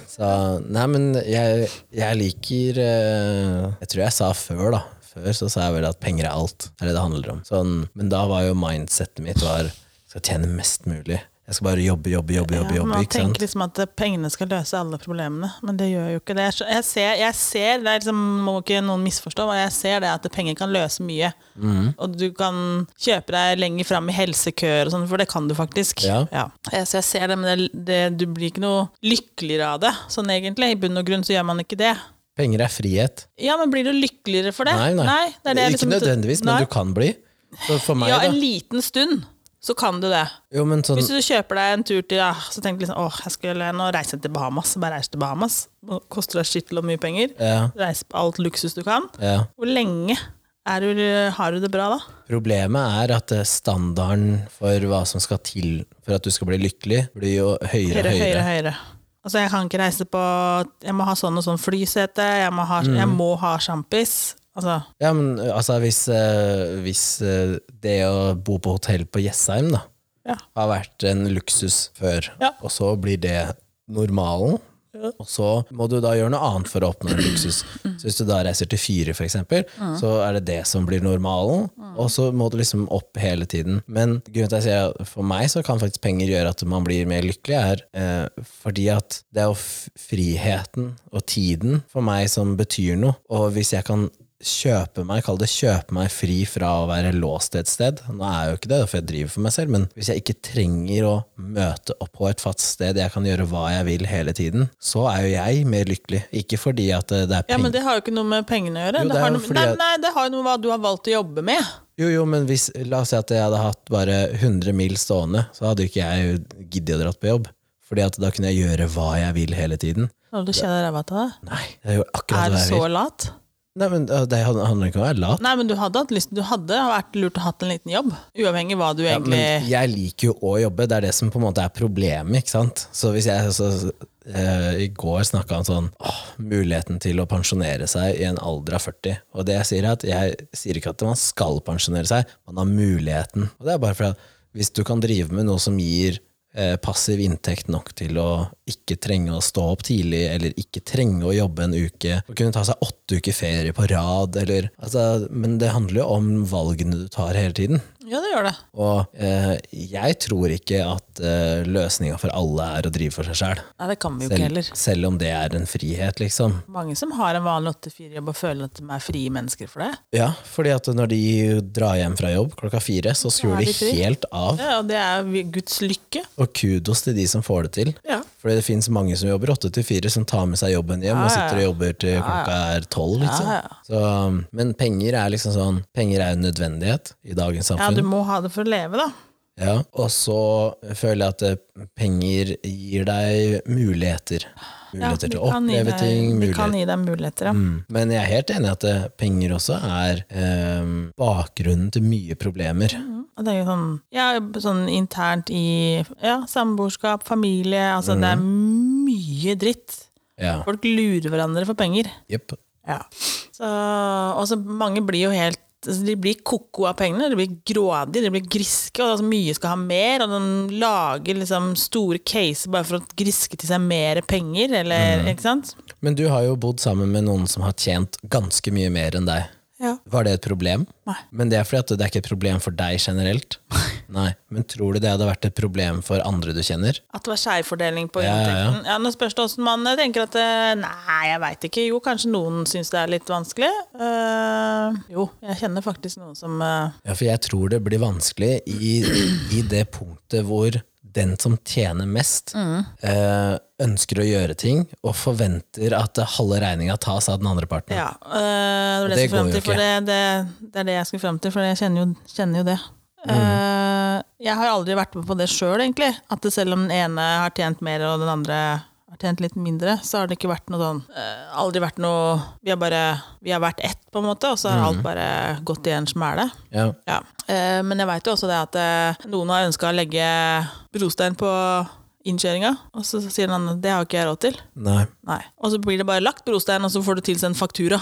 Speaker 1: Så nei, men jeg, jeg liker eh, Jeg tror jeg sa før, da. Før så sa jeg vel at penger er alt. Det er det det handler om. Sånn, men da var jo mindsettet mitt var skal tjene mest mulig. Jeg skal bare jobbe, jobbe, jobbe, jobbe.
Speaker 2: Ja,
Speaker 1: jobbe
Speaker 2: man
Speaker 1: ikke sant?
Speaker 2: tenker liksom at eh, pengene skal løse alle problemene, men det gjør jo ikke det. Jeg skjø- Jeg ser, jeg ser det er liksom, må ikke noen misforstå, men jeg ser det at penger kan løse mye.
Speaker 1: Mm.
Speaker 2: Og du kan kjøpe deg lenger fram i helsekøer og sånn, for det kan du faktisk.
Speaker 1: Ja.
Speaker 2: Jeg, så jeg ser det, men det, det, du blir ikke noe lykkeligere av det, sånn egentlig. I bunn og grunn så gjør man ikke det.
Speaker 1: Penger er frihet.
Speaker 2: Ja, men blir du lykkeligere for det?
Speaker 1: Nei, nei.
Speaker 2: det er det jeg
Speaker 1: ikke
Speaker 2: liksom-
Speaker 1: nødvendigvis, men
Speaker 2: Nei.
Speaker 1: du kan bli. Så for meg,
Speaker 2: Ja,
Speaker 1: da.
Speaker 2: en liten stund, så kan du det.
Speaker 1: Jo, men sånn,
Speaker 2: Hvis du kjøper deg en tur til ja, Så tenker du liksom, åh, jeg skulle nå reise til Bahamas Så bare reise til Bahamas Nå koster det skittel og mye penger
Speaker 1: ja,
Speaker 2: Reise på alt luksus du kan
Speaker 1: ja.
Speaker 2: Hvor lenge Er du, har du det bra da?
Speaker 1: Problemet er at eh, standarden for hva som skal til for at du skal bli lykkelig, blir jo høyere og
Speaker 2: Høyre, høyre,
Speaker 1: høyere.
Speaker 2: høyre. Altså, jeg kan ikke reise på Jeg må ha sånn og sånn flysete, jeg må ha,
Speaker 1: Mm.
Speaker 2: jeg må ha sjampis. Altså,
Speaker 1: Ja, men eh, altså, hvis, eh, hvis eh, det å bo på hotell på Jessheim da,
Speaker 2: ja.
Speaker 1: har vært en luksus før,
Speaker 2: Ja.
Speaker 1: og så blir det normalen, og så må du da gjøre noe annet for å oppnå en luksus. Så hvis du da reiser til fire, for eksempel, så er det det som blir normalen, og så må du liksom opp hele tiden. Men grunnen til at jeg sier at for meg så kan faktisk penger gjøre at man blir mer lykkelig, er eh, fordi at det er jo f- friheten og tiden for meg som betyr noe, og hvis jeg kan kjøpe meg, kall det kjøpe meg fri fra å være låst til et sted. Nå er jeg jo ikke det, for jeg driver for meg selv, men hvis jeg ikke trenger å møte opp på et fast sted, jeg kan gjøre hva jeg vil hele tiden, så er jo jeg mer lykkelig. Ikke fordi at eh, det er
Speaker 2: ja,
Speaker 1: penger.
Speaker 2: men det har jo ikke noe med pengene å gjøre.
Speaker 1: Jo,
Speaker 2: det,
Speaker 1: det er
Speaker 2: har
Speaker 1: jo
Speaker 2: noe,
Speaker 1: fordi
Speaker 2: nei,
Speaker 1: at-
Speaker 2: nei, det har jo noe med hva du har valgt å jobbe med.
Speaker 1: Jo, jo, men hvis, la oss si at jeg hadde hatt bare 100 mil stående, så hadde jo ikke jeg giddet å dratt på jobb. Fordi at da kunne jeg gjøre hva jeg vil hele tiden.
Speaker 2: Når du kjenner ræva til deg.
Speaker 1: Nei, jeg gjorde akkurat
Speaker 2: Er du
Speaker 1: hva jeg
Speaker 2: så
Speaker 1: vil.
Speaker 2: lat?
Speaker 1: Nei, men eh, det handler ikke om å være lat.
Speaker 2: Nei, men du hadde, hatt lyst, du hadde vært lurt å hatt en liten jobb. Uavhengig hva du
Speaker 1: Ja,
Speaker 2: egentlig
Speaker 1: men jeg liker jo å jobbe, det er det som på en måte er problemet. ikke sant? Så hvis jeg så, eh, I går snakka om sånn, åh, muligheten til å pensjonere seg i en alder av 40. Og det jeg sier, er at jeg sier ikke at man skal pensjonere seg, man har muligheten. Og det er bare fordi at hvis du kan drive med noe som gir eh, passiv inntekt nok til å ikke trenge å stå opp tidlig, eller ikke trenge å jobbe en uke, og kunne ta seg åtte uker ferie på rad, eller altså, Men det handler jo om valgene du tar hele tiden.
Speaker 2: Ja, det gjør det.
Speaker 1: Og eh, jeg tror ikke at eh, løsninga for alle er å drive for seg sjæl.
Speaker 2: Nei, det kan vi jo ikke
Speaker 1: Selv,
Speaker 2: heller.
Speaker 1: selv om det er en frihet, liksom.
Speaker 2: Mange som har en vanlig 8-4-jobb og føler at de er frie mennesker for det.
Speaker 1: Ja, fordi at når de drar hjem fra jobb klokka fire, så skrur
Speaker 2: Da er
Speaker 1: de
Speaker 2: de fri.
Speaker 1: helt av.
Speaker 2: Ja, og det er jo Guds lykke.
Speaker 1: Og kudos til de som får det til.
Speaker 2: Ja.
Speaker 1: Fordi det fins mange som jobber åtte til fire, som tar med seg jobben hjem og
Speaker 2: Ja, ja, ja.
Speaker 1: sitter og jobber til klokka er tolv. Liksom.
Speaker 2: Ja, ja.
Speaker 1: Så, men penger er liksom sånn Penger er en nødvendighet i dagens
Speaker 2: Ja,
Speaker 1: samfunn.
Speaker 2: du må ha det for å leve, da.
Speaker 1: Ja, og så føler jeg at eh, penger gir deg muligheter. Muligheter til å oppleve ting.
Speaker 2: De kan
Speaker 1: Muligheter.
Speaker 2: gi deg muligheter, ja.
Speaker 1: Mm. Men jeg er helt enig i at eh, penger også er eh, bakgrunnen til mye problemer.
Speaker 2: Og det er jo sånn, ja, sånn internt i ja, samboerskap, familie Altså, det er
Speaker 1: Mm.
Speaker 2: mye dritt.
Speaker 1: Ja,
Speaker 2: Folk lurer hverandre for penger.
Speaker 1: jepp.
Speaker 2: Ja. Så, og så mange blir jo helt altså, De blir koko av pengene, de blir grådige, de blir griske, og altså, mye skal ha mer, og de lager liksom store caser bare for å griske til seg mer penger, eller
Speaker 1: Mm.
Speaker 2: Ikke sant?
Speaker 1: Men du har jo bodd sammen med noen som har tjent ganske mye mer enn deg.
Speaker 2: Ja.
Speaker 1: Var det et problem?
Speaker 2: Nei.
Speaker 1: Men det er fordi at det er ikke et problem for deg generelt. Nei. Men tror du det hadde vært et problem for andre du kjenner?
Speaker 2: At det var skjevfordeling på
Speaker 1: Ja, ja, ja.
Speaker 2: inntekten. Ja, Nå spørs det åssen man jeg tenker at eh, Nei, jeg veit ikke. Jo, kanskje noen syns det er litt vanskelig. Eh, jo, jeg kjenner faktisk noen som eh,
Speaker 1: Ja, for jeg tror det blir vanskelig i, i det punktet hvor den som tjener mest,
Speaker 2: Mm.
Speaker 1: eh, ønsker å gjøre ting og forventer at halve regninga tas av den andre parten.
Speaker 2: Ja. eh, det var det,
Speaker 1: det
Speaker 2: jeg skulle
Speaker 1: går
Speaker 2: frem
Speaker 1: jo
Speaker 2: til, for det, det, det er det jeg skulle frem til, for jeg kjenner jo, kjenner jo det. Eh, jeg har aldri vært med på det sjøl, egentlig. At det selv om den ene har tjent mer, og den andre har tjent litt mindre, så har det ikke vært noe sånn eh, Aldri vært noe Vi har bare Vi har vært ett, på en måte, og så har alt bare gått i en smæle.
Speaker 1: Ja.
Speaker 2: Ja. Eh, men jeg veit jo også det at eh, noen har ønska å legge brostein på innkjøringa, og så sier den andre det har ikke jeg råd til.
Speaker 1: Nei.
Speaker 2: Nei. Og så blir det bare lagt brostein, og så får du tilsendt faktura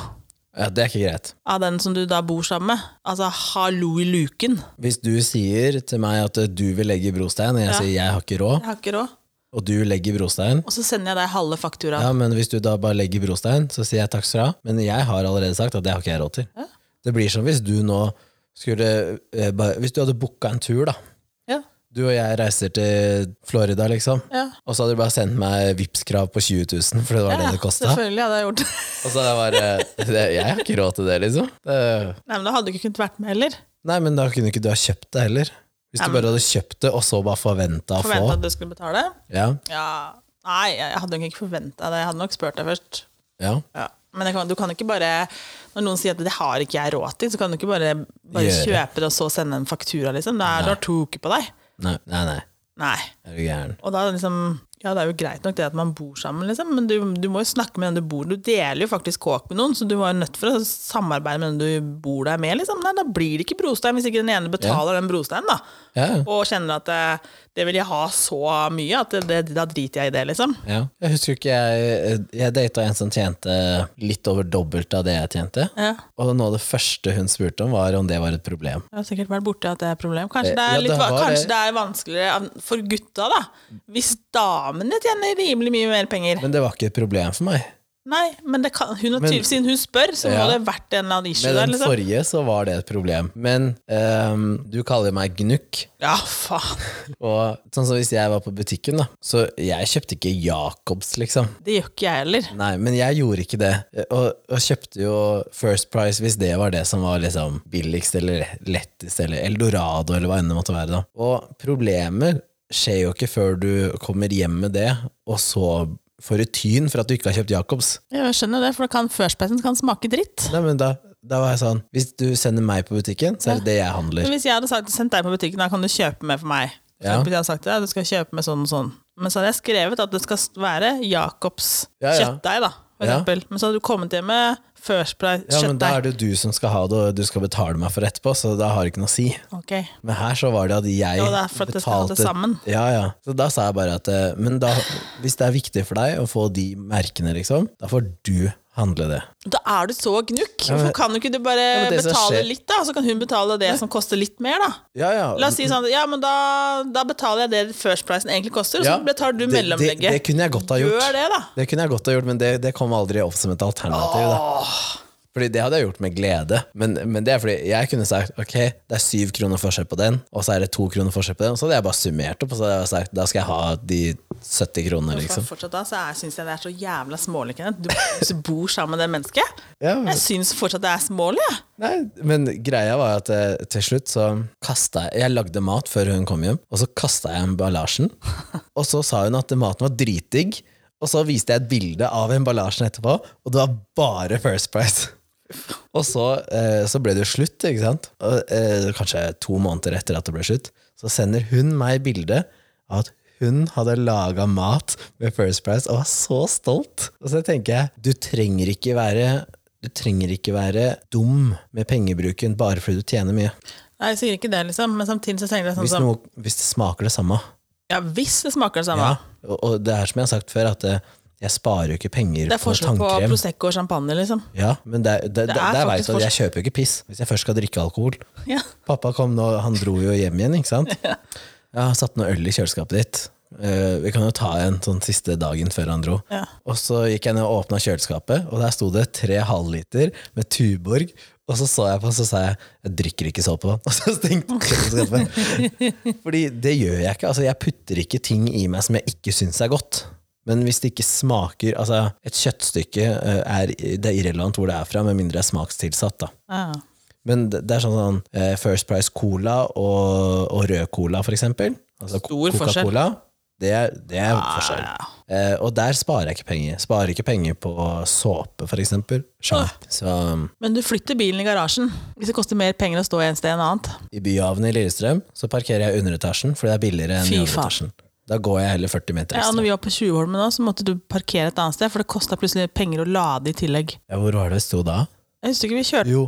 Speaker 1: Ja, det er ikke greit.
Speaker 2: av den som du da bor sammen med. Altså hallo i luken.
Speaker 1: Hvis du sier til meg at eh, du vil legge brostein, og jeg
Speaker 2: Ja.
Speaker 1: sier jeg har ikke råd,
Speaker 2: Jeg har ikke råd.
Speaker 1: og du legger brostein
Speaker 2: Og så sender jeg deg halve fakturaen.
Speaker 1: Ja, men hvis du da bare legger brostein, så sier jeg takk skal du ha. Men jeg har allerede sagt at det har ikke jeg råd til. Det blir som hvis du nå skulle eh, bare, Hvis du hadde booka en tur, da.
Speaker 2: Ja.
Speaker 1: Du og jeg reiser til Florida, liksom.
Speaker 2: Ja.
Speaker 1: Og så hadde du bare sendt meg Vipps-krav på 20 000, for det var
Speaker 2: Ja,
Speaker 1: det det kosta.
Speaker 2: selvfølgelig hadde jeg gjort det.
Speaker 1: Og så er det bare det, Jeg har ikke råd til det, liksom. Det,
Speaker 2: Nei, men da hadde du ikke kunnet vært med heller.
Speaker 1: nei, men da kunne ikke du ha kjøpt det heller. Hvis du
Speaker 2: Ja, men-
Speaker 1: bare hadde kjøpt det, og så bare forventa å få.
Speaker 2: Forventa at du skulle betale.
Speaker 1: Ja,
Speaker 2: Ja. Nei, jeg hadde nok ikke forventa det. Jeg hadde nok spurt deg først.
Speaker 1: ja.
Speaker 2: Ja. Men jeg kan, du kan ikke bare Når noen sier at det har ikke jeg råd til, så kan du ikke bare, bare
Speaker 1: Gjøre.
Speaker 2: kjøpe det og så sende en faktura, liksom. Da er du har to uker på deg.
Speaker 1: Nei, nei. nei.
Speaker 2: Nei.
Speaker 1: Er du gæren?
Speaker 2: Og da er det liksom, ja, det er jo greit nok det at man bor sammen, liksom, men du, du må jo snakke med den du bor Du deler jo faktisk kåk med noen, så du var jo nødt for å samarbeide med den du bor der med. Liksom. Nei, da blir det ikke brostein hvis ikke den ene betaler den brosteinen, da.
Speaker 1: Ja, ja.
Speaker 2: Og kjenner at det, det vil jeg ha så mye, at det, det, da driter jeg i det, liksom.
Speaker 1: ja. Jeg husker ikke jeg Jeg data en som tjente litt over dobbelt av det jeg tjente.
Speaker 2: Ja.
Speaker 1: Og noe av det første hun spurte om, var om det var et problem.
Speaker 2: Jeg har sikkert vært borti at det er et problem. Kanskje
Speaker 1: Eh,
Speaker 2: det
Speaker 1: Ja,
Speaker 2: er,
Speaker 1: det
Speaker 2: litt, va-
Speaker 1: har det.
Speaker 2: kanskje det er vanskeligere av- for gutta, da. Hvis damene tjener rimelig mye mer penger.
Speaker 1: Men det var ikke et problem for meg.
Speaker 2: Nei, men det kan, hun har tydelig, siden hun spør, så
Speaker 1: Ja.
Speaker 2: må det ha vært en eller annen issue
Speaker 1: Med
Speaker 2: der.
Speaker 1: den
Speaker 2: liksom.
Speaker 1: forrige så var det et problem. Men ehm, du kaller meg gnukk.
Speaker 2: Ja, faen.
Speaker 1: Og sånn som hvis jeg var på butikken, da, så jeg kjøpte ikke Jacobs, liksom.
Speaker 2: Det gjør ikke jeg heller.
Speaker 1: Nei, men jeg gjorde ikke det. Og, og kjøpte jo First Price hvis det var det som var liksom billigst eller lettest, eller Eldorado, eller hva enn det måtte være. da. Og problemer skjer jo ikke før du kommer hjem med det, og så får du tyn for at du ikke har kjøpt Jacobs.
Speaker 2: Jeg skjønner det, for det kan, førstpeisen kan smake dritt.
Speaker 1: Nei, men da, da var jeg sånn Hvis du sender meg på butikken, så er det det jeg handler.
Speaker 2: Men hvis jeg hadde sagt, sendt deg på butikken, da kan du kjøpe med for meg. For
Speaker 1: Ja.
Speaker 2: eksempel, Jeg hadde sagt ja, du skal kjøpe med sånn og sånn. Men så hadde jeg skrevet at det skal være Jacobs
Speaker 1: Ja, ja.
Speaker 2: kjøttdeig, da. For
Speaker 1: Ja.
Speaker 2: eksempel. Men så hadde du kommet hjem med First Price
Speaker 1: Ja, men Da
Speaker 2: kjøttdeig.
Speaker 1: er det jo du som skal ha det, og du skal betale meg for det etterpå, så da har det ikke noe å si.
Speaker 2: Ok.
Speaker 1: Men her så var det at jeg
Speaker 2: Jo, det er for at det skal holde sammen.
Speaker 1: Ja, ja. Så da sa jeg bare at eh, Men da, hvis det er viktig for deg å få de merkene, liksom, da får du handle det.
Speaker 2: Da er du så gnukk! Hvorfor kan du ikke du bare
Speaker 1: men det som
Speaker 2: betale
Speaker 1: skjer-
Speaker 2: litt, da? Så kan hun betale det som koster litt mer, da.
Speaker 1: Ja, ja.
Speaker 2: La oss si
Speaker 1: mm.
Speaker 2: sånn ja, men da, da betaler jeg det First Pricen egentlig koster, og så
Speaker 1: Ja,
Speaker 2: betaler du
Speaker 1: det-
Speaker 2: mellomlegget.
Speaker 1: Det, det kunne jeg godt ha gjort.
Speaker 2: Gjør det, da.
Speaker 1: Det kunne jeg godt ha gjort, men det, det kom aldri opp som et alternativ. Da. Fordi Det hadde jeg gjort med glede, men, men det er fordi jeg kunne sagt ok, det er syv kroner forskjell på den, og så er det to kroner forskjell på den, og så hadde jeg bare summert opp, og så hadde jeg sagt da skal jeg ha de 70 kronene, liksom.
Speaker 2: For fortsatt da, så er- synes jeg det er så jævla smålig, Kenneth. Du, hvis du bor sammen med det mennesket.
Speaker 1: Ja, men-
Speaker 2: Jeg syns fortsatt det er smålig, jeg.
Speaker 1: Nei, men greia var at eh, til slutt så kasta jeg Jeg lagde mat før hun kom hjem, og så kasta jeg emballasjen. Og så sa hun at maten var dritdigg, og så viste jeg et bilde av emballasjen etterpå, og det var bare First Price. Og så, eh, så ble det jo slutt, ikke sant? Og, eh, kanskje to måneder etter at det ble slutt, så sender hun meg bilde av at hun hadde laga mat med First Price og var så stolt. Og så tenker jeg, du trenger ikke være du trenger ikke være dum med pengebruken bare fordi du tjener mye.
Speaker 2: Nei, jeg sier ikke det, liksom, men samtidig så tenker jeg sånn
Speaker 1: Hvis,
Speaker 2: som
Speaker 1: noe, hvis det smaker det samme.
Speaker 2: Ja, hvis det smaker det samme.
Speaker 1: Ja. Og, og det er som jeg har sagt før, at eh, jeg sparer jo ikke penger
Speaker 2: Det er
Speaker 1: på
Speaker 2: forskjell på
Speaker 1: tannkrem.
Speaker 2: Prosecco og champagne, liksom.
Speaker 1: Ja, men det, det, det,
Speaker 2: er
Speaker 1: der
Speaker 2: faktisk
Speaker 1: vet du at jeg kjøper jo ikke piss hvis jeg først skal drikke alkohol.
Speaker 2: Ja.
Speaker 1: Pappa kom nå, han dro jo hjem igjen, ikke sant? Ja, han satt noe øl i kjøleskapet ditt. Eh, vi kan jo ta en sånn siste dagen før han dro.
Speaker 2: Ja.
Speaker 1: Og så gikk jeg ned og åpna kjøleskapet, og der sto det tre halvliter med Tuborg. Og så så jeg på, og så sa jeg 'jeg drikker ikke såpevann'. Og så stengte jeg kjøleskapet. Fordi det gjør jeg ikke. Altså, jeg putter ikke ting i meg som jeg ikke syns er godt. Men hvis det ikke smaker Altså, et kjøttstykke eh, er, det er irrelevant hvor det er fra, med mindre det er smakstilsatt, da.
Speaker 2: Ja.
Speaker 1: Men det, det er sånn, sånn eh, First Price Cola og, og rød cola, for eksempel. Altså
Speaker 2: Stor forskjell. Ah,
Speaker 1: Coca-Cola. Det, er- det er forskjell. Eh, og der sparer jeg ikke penger. Sparer ikke penger på såpe, for eksempel.
Speaker 2: Ah.
Speaker 1: Sjamp. Så um,
Speaker 2: Men du flytter bilen i garasjen hvis det koster mer penger å stå en sted enn annet.
Speaker 1: i byhavnen i Lillestrøm så parkerer jeg underetasjen, fordi det er billigere enn i
Speaker 2: Fy faen.
Speaker 1: overetasjen. Da går jeg heller 40 meter
Speaker 2: Ja, når
Speaker 1: ekstra.
Speaker 2: vi var på Tjuvholmen nå, så måtte du parkere et annet sted, for det kosta plutselig penger å lade i tillegg.
Speaker 1: Ja, hvor var det det sto da?
Speaker 2: Jeg husker ikke vi kjørte
Speaker 1: Jo,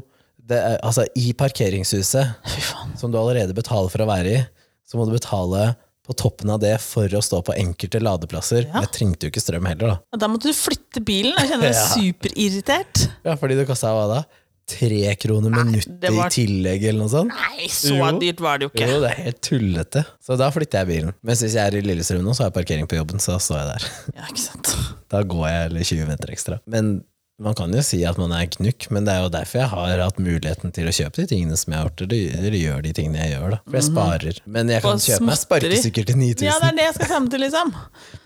Speaker 1: det er, altså i parkeringshuset,
Speaker 2: Fy faen.
Speaker 1: som du allerede betaler for å være i, så må du betale på toppen av det for å stå på enkelte ladeplasser.
Speaker 2: Ja.
Speaker 1: Jeg trengte jo ikke strøm heller, da.
Speaker 2: Og Da måtte du flytte bilen. Jeg kjenner meg
Speaker 1: Ja.
Speaker 2: superirritert.
Speaker 1: Ja, fordi det kosta hva da? Tre kroner minuttet
Speaker 2: det var-
Speaker 1: i tillegg, eller noe sånt?
Speaker 2: Nei, så
Speaker 1: Jo.
Speaker 2: dyrt var det jo ikke.
Speaker 1: Jo, det er helt tullete. Så da flytter jeg bilen. Mens hvis jeg er i Lillestrøm nå, så har jeg parkering på jobben, så står jeg der.
Speaker 2: Ja, ikke sant.
Speaker 1: Da går jeg eller 20 meter ekstra. Men man kan jo si at man er knukk, men det er jo derfor jeg har hatt muligheten til å kjøpe de tingene som jeg har gjort, eller, eller gjør de tingene jeg gjør, da. For jeg sparer. Men jeg kan
Speaker 2: Og
Speaker 1: kjøpe meg
Speaker 2: småtteri.
Speaker 1: sparkesykkel til 9000,
Speaker 2: Mhm. Ja, det er det jeg skal frem til, liksom.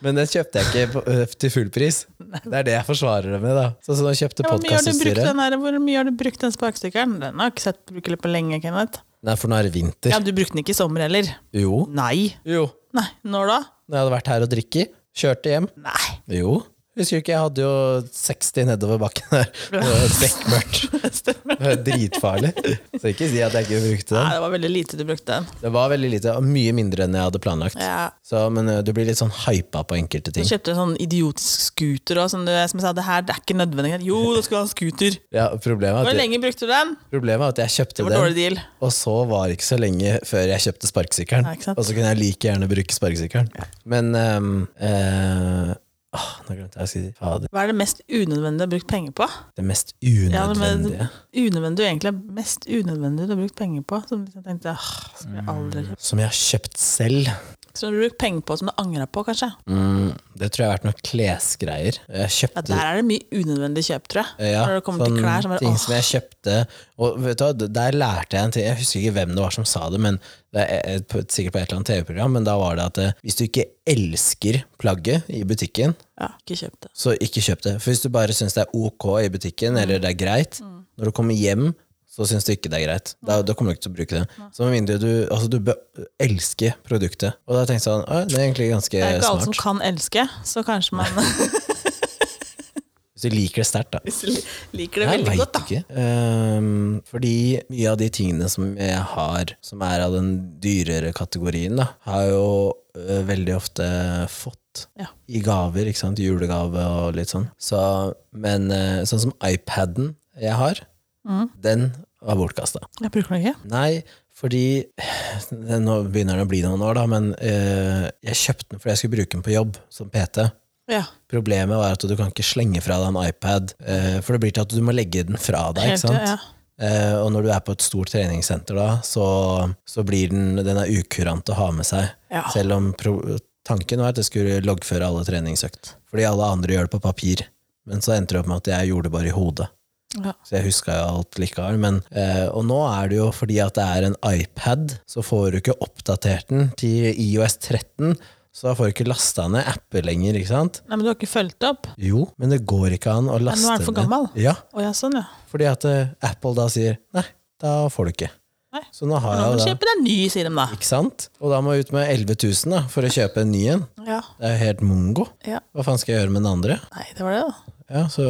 Speaker 1: men den kjøpte jeg ikke på, ø, til full pris. Det er det jeg forsvarer det med, da. Sånn som jeg kjøpte
Speaker 2: Ja, hvor, mye har du brukt
Speaker 1: podkastutstyret.
Speaker 2: den her, hvor mye har du brukt den sparkesykkelen? Den har jeg ikke sett brukelig på lenge, Kenneth.
Speaker 1: Nei, for nå er det vinter.
Speaker 2: Ja, Du brukte den ikke i sommer heller?
Speaker 1: Jo.
Speaker 2: Nei.
Speaker 1: Jo.
Speaker 2: Nei, Når da?
Speaker 1: Når jeg hadde vært her og drikket, kjørte hjem.
Speaker 2: Nei.
Speaker 1: Jo. Husker du ikke, jeg hadde jo 60 nedover bakken der. Det var bekmørkt.
Speaker 2: Stemmer.
Speaker 1: Det var dritfarlig. Så ikke si at jeg ikke brukte
Speaker 2: Nei,
Speaker 1: den.
Speaker 2: det var veldig lite du brukte den.
Speaker 1: Det var veldig lite, og mye mindre enn jeg hadde planlagt.
Speaker 2: Ja.
Speaker 1: Så, men ø, du blir litt sånn hypa på enkelte
Speaker 2: Du
Speaker 1: ting.
Speaker 2: kjøpte en sånn idiotisk scooter også, som, du, som jeg sa, det her det er ikke nødvendig. Jo, du skal ha scooter.
Speaker 1: Ja, problemet,
Speaker 2: Hvor
Speaker 1: er at jeg,
Speaker 2: lenge brukte du den?
Speaker 1: problemet er at jeg
Speaker 2: Det
Speaker 1: kjøpte
Speaker 2: var dårlig
Speaker 1: den,
Speaker 2: deal.
Speaker 1: og så var det ikke så lenge før jeg kjøpte sparkesykkelen.
Speaker 2: Ja, ikke sant?
Speaker 1: Og så kunne jeg like gjerne bruke sparkesykkelen. Men ø, ø, åh, Nå glemte jeg å si det. Fader.
Speaker 2: Hva er det mest unødvendige du har brukt penger på?
Speaker 1: Det mest
Speaker 2: Ja, men-
Speaker 1: unødvendige.
Speaker 2: Unødvendig, egentlig. Mest unødvendig du har brukt penger på. Som jeg tenkte, «Åh, som jeg aldri
Speaker 1: Som jeg har kjøpt selv.
Speaker 2: Som du har brukt penger på som du angrer på, kanskje.
Speaker 1: Mm, det tror jeg har vært noen klesgreier. Jeg
Speaker 2: Ja,
Speaker 1: kjøpte
Speaker 2: der er det mye unødvendig kjøp, tror jeg.
Speaker 1: ja,
Speaker 2: Når det kommer til
Speaker 1: sånn
Speaker 2: klær, så bare,
Speaker 1: ting
Speaker 2: åh,
Speaker 1: som jeg kjøpte Og vet du hva, d- der lærte jeg en ting Jeg husker ikke hvem det var som sa det Men det er et- på- sikkert på et eller annet TV-program Men da var det at eh, hvis du ikke elsker plagget i butikken
Speaker 2: ja, ikke kjøp det.
Speaker 1: Så ikke kjøp det For hvis du bare synes det er ok i butikken
Speaker 2: Mm.
Speaker 1: Eller det er greit Når du kommer hjem så synes du ikke det er greit Da, da kommer du ikke til å bruke det Så med mindre du, altså du bø- elsker produktet Og da tenkte jeg sånn, «Å, det er egentlig ganske
Speaker 2: Det er ikke alle som
Speaker 1: smart
Speaker 2: kan elske, så kanskje man
Speaker 1: Hvis du liker det sterkt da
Speaker 2: hvis du liker det
Speaker 1: Jeg
Speaker 2: veldig
Speaker 1: vet
Speaker 2: godt, da.
Speaker 1: Ikke. Ehm, fordi mye av de tingene som jeg har, som er av den dyrere kategorien, da, har jeg jo ø, veldig ofte fått
Speaker 2: Ja.
Speaker 1: i gaver, ikke sant? Julegave og litt sånn. Så, men ø, sånn som iPaden jeg har, den var bortkasta.
Speaker 2: Jeg bruker den ikke.
Speaker 1: Nei, fordi eh, Nå begynner den å bli noen år, da, men ø, jeg kjøpte den fordi jeg skulle bruke den på jobb som PT.
Speaker 2: Ja,
Speaker 1: Problemet var at du kan ikke slenge fra deg en iPad, eh, for det blir til at du må legge den fra deg. ikke
Speaker 2: helt,
Speaker 1: sant?
Speaker 2: ja.
Speaker 1: Eh, og når du er på et stort treningssenter, da, så, så blir den, den er ukurant å ha med seg.
Speaker 2: Ja.
Speaker 1: Selv om pro tanken var at jeg skulle loggføre alle treningsøkt. Fordi alle andre gjør det på papir. Men så endte det opp med at jeg gjorde det bare i hodet.
Speaker 2: Ja.
Speaker 1: Så jeg huska jo alt likevel. Men, eh, og nå er det jo fordi at det er en iPad, så får du ikke oppdatert den til IOS 13. Så da får du ikke lasta ned apper lenger, ikke sant?
Speaker 2: Nei, men du har ikke fulgt opp?
Speaker 1: Jo, men det går ikke an å
Speaker 2: nå
Speaker 1: laste
Speaker 2: er den for
Speaker 1: ned.
Speaker 2: gammel.
Speaker 1: Ja,
Speaker 2: Å ja, sånn, ja.
Speaker 1: fordi at eh, Apple da sier nei, da får du ikke.
Speaker 2: Nei.
Speaker 1: Så nå har
Speaker 2: Nå må
Speaker 1: jeg
Speaker 2: du
Speaker 1: jo da
Speaker 2: kjøpe deg ny, sier de da.
Speaker 1: Ikke sant? Og da må jeg ut med 11 000 da, for å kjøpe en ny en.
Speaker 2: Ja.
Speaker 1: Det er jo helt mongo.
Speaker 2: ja.
Speaker 1: Hva faen skal jeg gjøre med den andre?
Speaker 2: Nei, det var det, da.
Speaker 1: Ja, så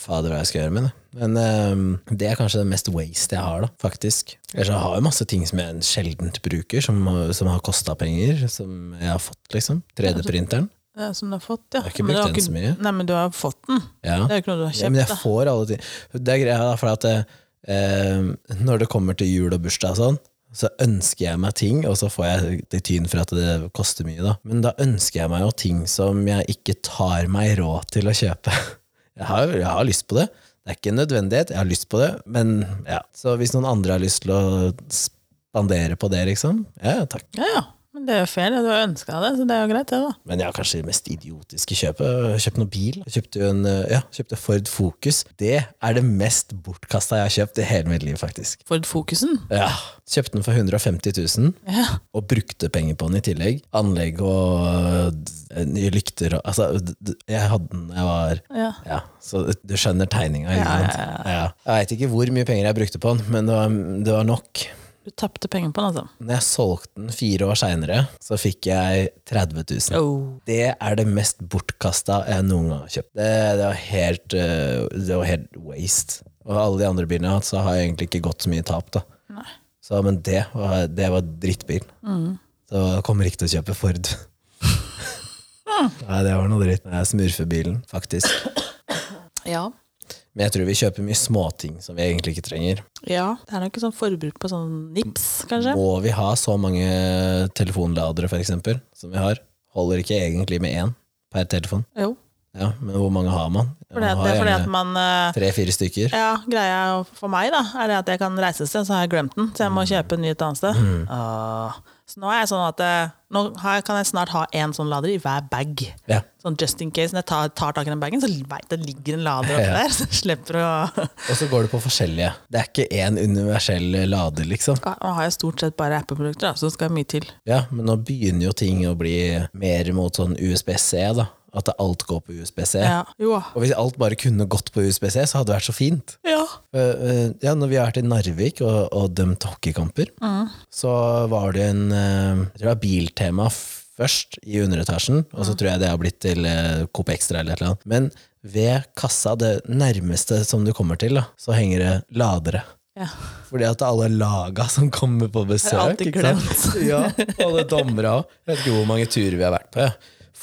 Speaker 1: Fader, hva jeg skal gjøre med det. Men eh, det er kanskje det mest waste jeg har, da, faktisk. Ellers jeg har jeg masse ting som jeg sjeldent bruker, som, som har kosta penger, som jeg har fått, liksom. 3D-printeren.
Speaker 2: Det er som du har fått,
Speaker 1: Jeg
Speaker 2: ja.
Speaker 1: har ikke
Speaker 2: Men du
Speaker 1: brukt den så mye.
Speaker 2: Nei, men du har fått den.
Speaker 1: Ja.
Speaker 2: Det er jo ikke noe du har
Speaker 1: Ja, men
Speaker 2: kjøpt,
Speaker 1: jeg
Speaker 2: da.
Speaker 1: får alle ting. Det er greia, da, for at eh, når det kommer til jul og bursdag og sånn, så ønsker jeg meg ting, og så får jeg det tyn for at det koster mye, da. Men da ønsker jeg meg jo ting som jeg ikke tar meg råd til å kjøpe. Jeg har, jeg har lyst på det. Det er ikke en nødvendighet, jeg har lyst på det, men ja. Så hvis noen andre har lyst til å spandere på det, liksom, ja, ja, takk.
Speaker 2: Ja, ja. Men det er jo fair, det. du har ønska det, så det er jo greit, det, da.
Speaker 1: Men ja, kanskje det mest idiotiske kjøpet. Jeg kjøpte noen bil. Jeg kjøpte, jo en, eh, ja, kjøpte Ford Focus. Det er det mest bortkasta jeg har kjøpt i hele mitt liv, faktisk.
Speaker 2: Ford Focusen.
Speaker 1: Ja, Kjøpte den for 150 000,
Speaker 2: Ja.
Speaker 1: og brukte penger på den i tillegg. Anlegg og eh, nye lykter og Altså, d- d- jeg hadde den jeg var
Speaker 2: ja.
Speaker 1: ja, Så du skjønner tegninga, ikke
Speaker 2: Ja, ja,
Speaker 1: sant? Ja. Jeg veit ikke hvor mye penger jeg brukte på den, men det var, det var nok.
Speaker 2: Du tapte penger på den, altså.
Speaker 1: Når jeg solgte den fire år seinere, så fikk jeg 30 000.
Speaker 2: Oh.
Speaker 1: Det er det mest bortkasta jeg noen gang har kjøpt. Det, det, var helt, eh, det var helt waste. Og alle de andre bilene jeg har hatt, så har jeg egentlig ikke gått så mye tap. da.
Speaker 2: Nei. Mm.
Speaker 1: Så, men det var, det var drittbil. Så jeg kommer ikke til å kjøpe Ford. Nei, det var noe dritt. Det er smurfebilen, faktisk.
Speaker 2: Ja.
Speaker 1: Men jeg tror vi kjøper mye småting som vi egentlig ikke trenger.
Speaker 2: ja. Det er nok ikke sånn forbruk på sånn nips, kanskje.
Speaker 1: Må vi ha så mange telefonladere, for eksempel, som vi har? Holder ikke egentlig med én per telefon.
Speaker 2: Jo.
Speaker 1: Ja, Men hvor mange har man?
Speaker 2: For det,
Speaker 1: Man har
Speaker 2: det er fordi
Speaker 1: gjerne-
Speaker 2: at man eh,
Speaker 1: Tre-fire stykker.
Speaker 2: Ja, greia for meg da er det at jeg kan reise et sted, så har jeg glemt den. Så jeg må kjøpe en ny et annet sted. Ah. så nå er jeg sånn at eh, Nå har, kan jeg snart ha én sånn lader i hver bag.
Speaker 1: Ja.
Speaker 2: Sånn just in case. Når jeg tar, tar tak i den bagen, så vet jeg det ligger en lader oppi
Speaker 1: Ja.
Speaker 2: der. Så jeg slipper å
Speaker 1: Og så går det på forskjellige. Det er ikke én universell lader, liksom.
Speaker 2: Ja, Nå har jeg stort sett bare Apple-produkter, da, så det skal mye til.
Speaker 1: Ja, Men nå begynner jo ting å bli mer mot sånn USBC, da. At det alt går på USBC.
Speaker 2: Ja. Jo.
Speaker 1: Og hvis alt bare kunne gått på USBC, så hadde det vært så fint.
Speaker 2: Ja.
Speaker 1: Eh, eh, ja, når vi har vært i Narvik og, og dømt hockeykamper, så var det en eh, Jeg tror det var Biltema f- først i underetasjen, og så tror jeg det har blitt til eh, Coop Extra eller et eller annet. Men ved kassa, det nærmeste som du kommer til, da, så henger det ladere.
Speaker 2: Ja.
Speaker 1: Fordi at alle laga som kommer på besøk
Speaker 2: alltid
Speaker 1: ikke sant? ja, Alle dommere òg. Jeg vet ikke hvor mange turer vi har vært på. Ja.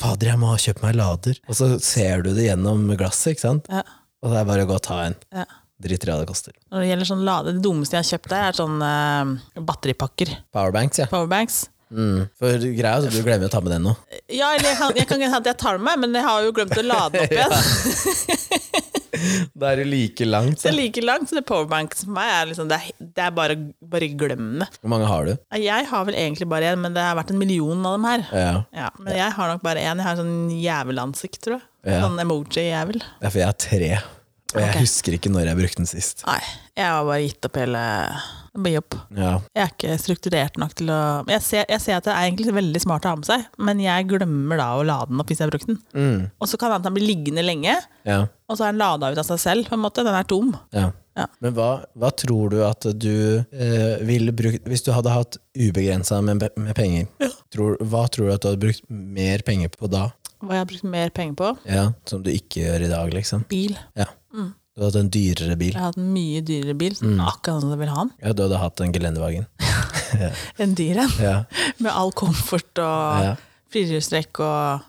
Speaker 1: Fader, jeg må ha kjøpt meg lader. Og så ser du det gjennom glasset, ikke sant?
Speaker 2: Ja.
Speaker 1: Og det er bare å gå og ta en.
Speaker 2: Ja.
Speaker 1: Driter i hva det koster.
Speaker 2: Når det gjelder sånn lade, det dummeste jeg har kjøpt der, er sånn eh, batteripakker.
Speaker 1: Powerbanks, ja.
Speaker 2: Powerbanks.
Speaker 1: Mm. For greia er at du glemmer å ta med den nå.
Speaker 2: Ja, eller jeg kan, jeg kan ikke si at jeg tar med meg, men jeg har jo glemt å lade opp igjen.
Speaker 1: Da er det like langt.
Speaker 2: Så det er like langt, så det powerbank som meg er liksom, det er, det er bare, bare glem det.
Speaker 1: Hvor mange har du?
Speaker 2: Nei, Jeg har vel egentlig bare én, men det har vært en million av dem her.
Speaker 1: Ja.
Speaker 2: Ja, men jeg har nok bare én. Jeg har sånn jævelansikt, tror jeg.
Speaker 1: Ja.
Speaker 2: Sånn emoji-jævel.
Speaker 1: Det er fordi jeg har tre. Og jeg
Speaker 2: Ok.
Speaker 1: husker ikke når jeg brukte den sist.
Speaker 2: Nei, jeg har bare gitt opp hele Bare jobb.
Speaker 1: Ja.
Speaker 2: Jeg er ikke strukturert nok til å jeg ser, jeg ser at det er egentlig veldig smart å ha med seg, men jeg glemmer da å lade den opp hvis jeg har brukt den.
Speaker 1: Mm.
Speaker 2: Og så kan det hende at den blir liggende lenge,
Speaker 1: Ja.
Speaker 2: og så er den lada ut av seg selv. på en måte. Den er tom.
Speaker 1: ja.
Speaker 2: Ja.
Speaker 1: Men hva, hva tror du at du eh, ville brukt Hvis du hadde hatt ubegrensa med, med penger, tror, hva tror du at du hadde brukt mer penger på da?
Speaker 2: Hva jeg har brukt mer penger på?
Speaker 1: Ja, som du ikke gjør i dag, liksom?
Speaker 2: Bil.
Speaker 1: Ja.
Speaker 2: Mm.
Speaker 1: Du hadde hatt en dyrere bil.
Speaker 2: Jeg har hatt en mye dyrere bil, akkurat som jeg vil ha den.
Speaker 1: Ja, du hadde hatt en gelendevagen.
Speaker 2: En dyr en,
Speaker 1: Ja.
Speaker 2: med all komfort og
Speaker 1: Ja.
Speaker 2: firehjulstrekk og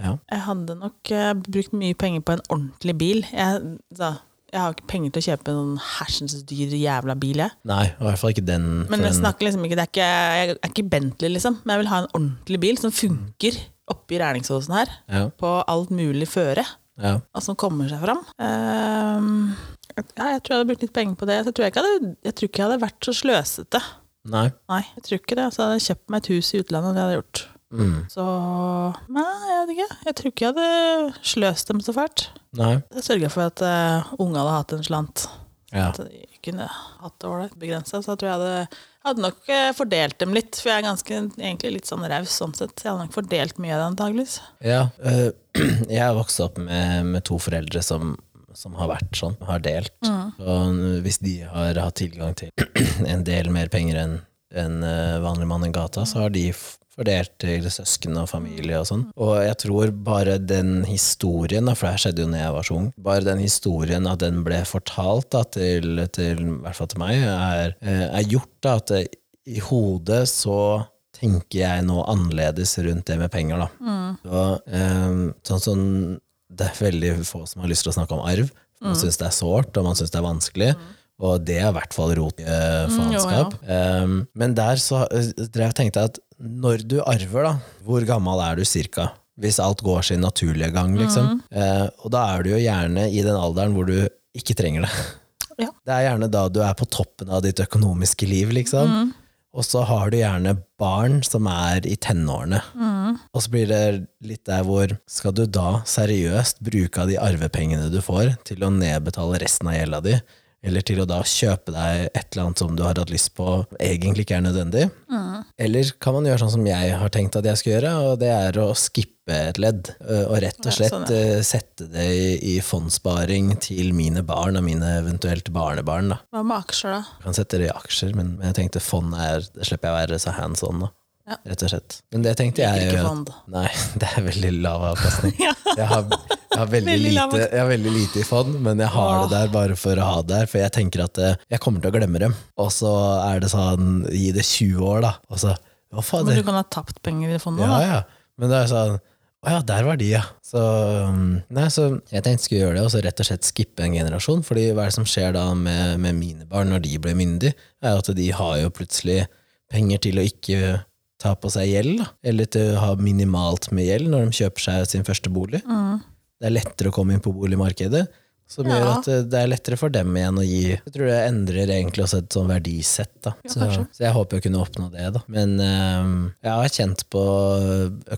Speaker 1: Ja.
Speaker 2: Jeg hadde nok eh, brukt mye penger på en ordentlig bil. Jeg, da, jeg har ikke penger til å kjøpe en hersens dyr jævla bil, jeg.
Speaker 1: Nei, i hvert fall ikke den. for
Speaker 2: Men jeg
Speaker 1: en-
Speaker 2: snakker liksom ikke, det er ikke, jeg er ikke Bentley, liksom. Men jeg vil ha en ordentlig bil som funker oppi Rælingsåsen her.
Speaker 1: ja.
Speaker 2: På alt mulig føre.
Speaker 1: Ja.
Speaker 2: Og som kommer seg fram. Ehm, ja, jeg tror jeg hadde brukt litt penger på det. Så tror jeg, ikke jeg, hadde, jeg tror ikke jeg hadde vært så sløsete.
Speaker 1: Nei.
Speaker 2: Nei, jeg tror ikke det. Så hadde jeg kjøpt meg et hus i utlandet. Det hadde jeg gjort.
Speaker 1: Mm.
Speaker 2: Så Nei, jeg vet ikke. Jeg tror ikke jeg hadde sløst dem så fælt.
Speaker 1: Nei.
Speaker 2: Jeg sørga for at uh, unga hadde hatt en slant.
Speaker 1: Ja.
Speaker 2: At de kunne hatt det ålreit begrensa. Så jeg tror jeg hadde, hadde nok eh, fordelt dem litt. For jeg er ganske, egentlig litt sånn raus sånn sett. Så jeg hadde nok fordelt mye av det antageligvis.
Speaker 1: Ja, øh, jeg har vokst opp med, med to foreldre som, som har vært sånn, har delt. Og hvis de har hatt tilgang til en del mer penger enn enn, øh, vanlig mann i gata, så har de f- fordelt til søsken og familie og sånn. Og jeg tror bare den historien, da, for det her skjedde jo når jeg var så ung, bare den historien at den ble fortalt da, til, til, i hvert fall til meg, er, eh, er gjort da, at eh, i hodet så tenker jeg nå annerledes rundt det med penger, da. Så, eh, sånn som det er veldig få som har lyst til å snakke om arv. Man syns det er sårt, og man syns det er vanskelig. Og det er i hvert fall rot i eh, faenskap. Eh, men der så eh, drev jeg og tenkte at når du arver, da, hvor gammel er du cirka? Hvis alt går sin naturlige gang, liksom. Eh, og da er du jo gjerne i den alderen hvor du ikke trenger det.
Speaker 2: Ja.
Speaker 1: Det er gjerne da du er på toppen av ditt økonomiske liv, liksom. Og så har du gjerne barn som er i tenårene. Og så blir det litt der hvor skal du da seriøst bruke av de arvepengene du får, til å nedbetale resten av gjelda di? Eller til å da kjøpe deg et eller annet som du har hatt lyst på, egentlig ikke er nødvendig? Eller kan man gjøre sånn som jeg har tenkt at jeg skal gjøre, og det er å skippe et ledd. øh, Og rett og slett
Speaker 2: sånn,
Speaker 1: øh, sette det i, i fondssparing til mine barn og mine eventuelt barnebarn. da.
Speaker 2: Hva med aksjer, da?
Speaker 1: Jeg kan sette det i aksjer, men, men jeg tenkte fond er, det slipper jeg å være så hands on. da.
Speaker 2: Ja.
Speaker 1: Rett og slett. Men det tenkte jeg
Speaker 2: Liker ikke
Speaker 1: jo-
Speaker 2: fond.
Speaker 1: Nei, det er veldig lav avkastning.
Speaker 2: Ja.
Speaker 1: Jeg har, jeg, har veldig
Speaker 2: Veldig lav
Speaker 1: lite, jeg har veldig lite i fond, men jeg har det der bare for å ha det der. For jeg tenker at eh, jeg kommer til å glemme dem. Og så er det sånn, gi det 20 år, da. Og så hva faen,
Speaker 2: Men
Speaker 1: det
Speaker 2: du kan ha tapt penger i fondet,
Speaker 1: ja,
Speaker 2: da.
Speaker 1: ja. Men det er sånn Å ja, der var de, ja. Så, um, nei, så jeg tenkte jeg skulle gjøre det, og så rett og slett skippe en generasjon. fordi hva er det som skjer da med, med mine barn når de blir myndige? er jo at de har jo plutselig penger til å ikke ta på seg gjeld, da. Eller til å ha minimalt med gjeld når de kjøper seg sin første bolig. Det er lettere å komme inn på boligmarkedet. Som gjør
Speaker 2: Ja.
Speaker 1: at eh, det er lettere for dem igjen å gi. Jeg tror det endrer egentlig også et sånn verdisett. da. så,
Speaker 2: kanskje.
Speaker 1: så jeg håper jeg kunne oppnå det. da. Men eh, jeg har kjent på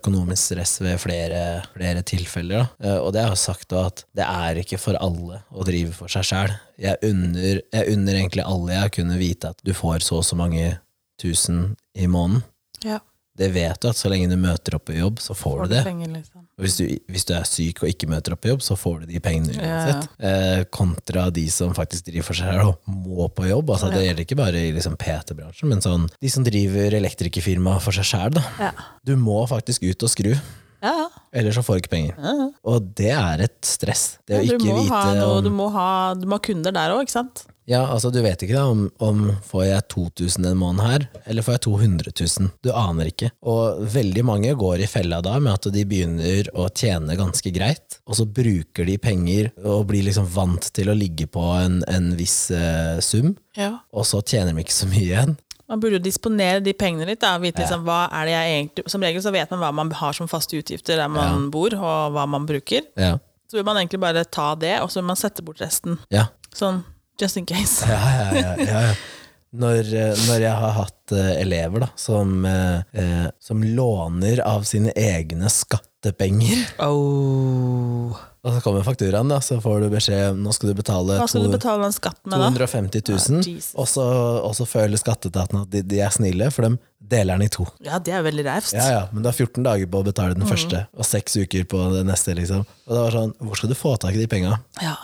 Speaker 1: økonomisk stress ved flere, flere tilfeller. da. Eh, og det har jeg jo sagt da, at det er ikke for alle å drive for seg sjæl. Jeg, unner- jeg unner egentlig alle jeg kunne vite at du får så og så mange tusen i måneden.
Speaker 2: Ja.
Speaker 1: Det vet du at så lenge du møter opp på jobb, så får du det.
Speaker 2: Penger, liksom.
Speaker 1: Og Hvis du, hvis du er syk og ikke møter opp på jobb, så får du de pengene
Speaker 2: Ja,
Speaker 1: uansett. Eh, kontra de som faktisk driver for seg selv og må på jobb. Altså, Det gjelder ikke bare i liksom PT-bransjen, men sånn, de som driver elektrikerfirma for seg selv. Da.
Speaker 2: Ja.
Speaker 1: Du må faktisk ut og skru,
Speaker 2: Ja, ja.
Speaker 1: ellers så får du ikke penger.
Speaker 2: ja. ja.
Speaker 1: Og det er et stress. Det å
Speaker 2: Du
Speaker 1: ikke
Speaker 2: må,
Speaker 1: vite
Speaker 2: ha noe, du,
Speaker 1: om,
Speaker 2: må ha, du må ha kunder der òg, ikke sant?
Speaker 1: ja, altså, Du vet ikke da, om, om får jeg 2000 en måned her, eller får jeg 200 000. Du aner ikke. Og veldig mange går i fella da med at de begynner å tjene ganske greit, og så bruker de penger og blir liksom vant til å ligge på en, en viss eh, sum,
Speaker 2: Ja.
Speaker 1: og så tjener de ikke så mye igjen.
Speaker 2: Man burde jo disponere de pengene litt. Da. og Vite, liksom, hva er det jeg egentlig, som regel så vet man hva man har som faste utgifter der man bor, og hva man bruker.
Speaker 1: Ja,
Speaker 2: Så vil man egentlig bare ta det, og så vil man sette bort resten.
Speaker 1: ja.
Speaker 2: Sånn just in case.
Speaker 1: Ja, ja, ja, ja, ja. Når, eh, når jeg har hatt eh, elever da, som, eh, eh, som låner av sine egne skattepenger,
Speaker 2: Oh.
Speaker 1: og så kommer fakturaen, da, så får du beskjed om nå skal du betale,
Speaker 2: Hva skal du
Speaker 1: to-
Speaker 2: betale den skatten med, da?
Speaker 1: 250 000,
Speaker 2: Ja, Jesus.
Speaker 1: og, så, og så føler skatteetaten at de, de er snille, for de deler den i to.
Speaker 2: Ja, det er jo veldig raust.
Speaker 1: Ja, ja, men du har 14 dager på å betale
Speaker 2: Mm.
Speaker 1: den første, og seks uker på den neste. liksom. Og det var sånn, Hvor skal du få tak i de penga?
Speaker 2: Ja.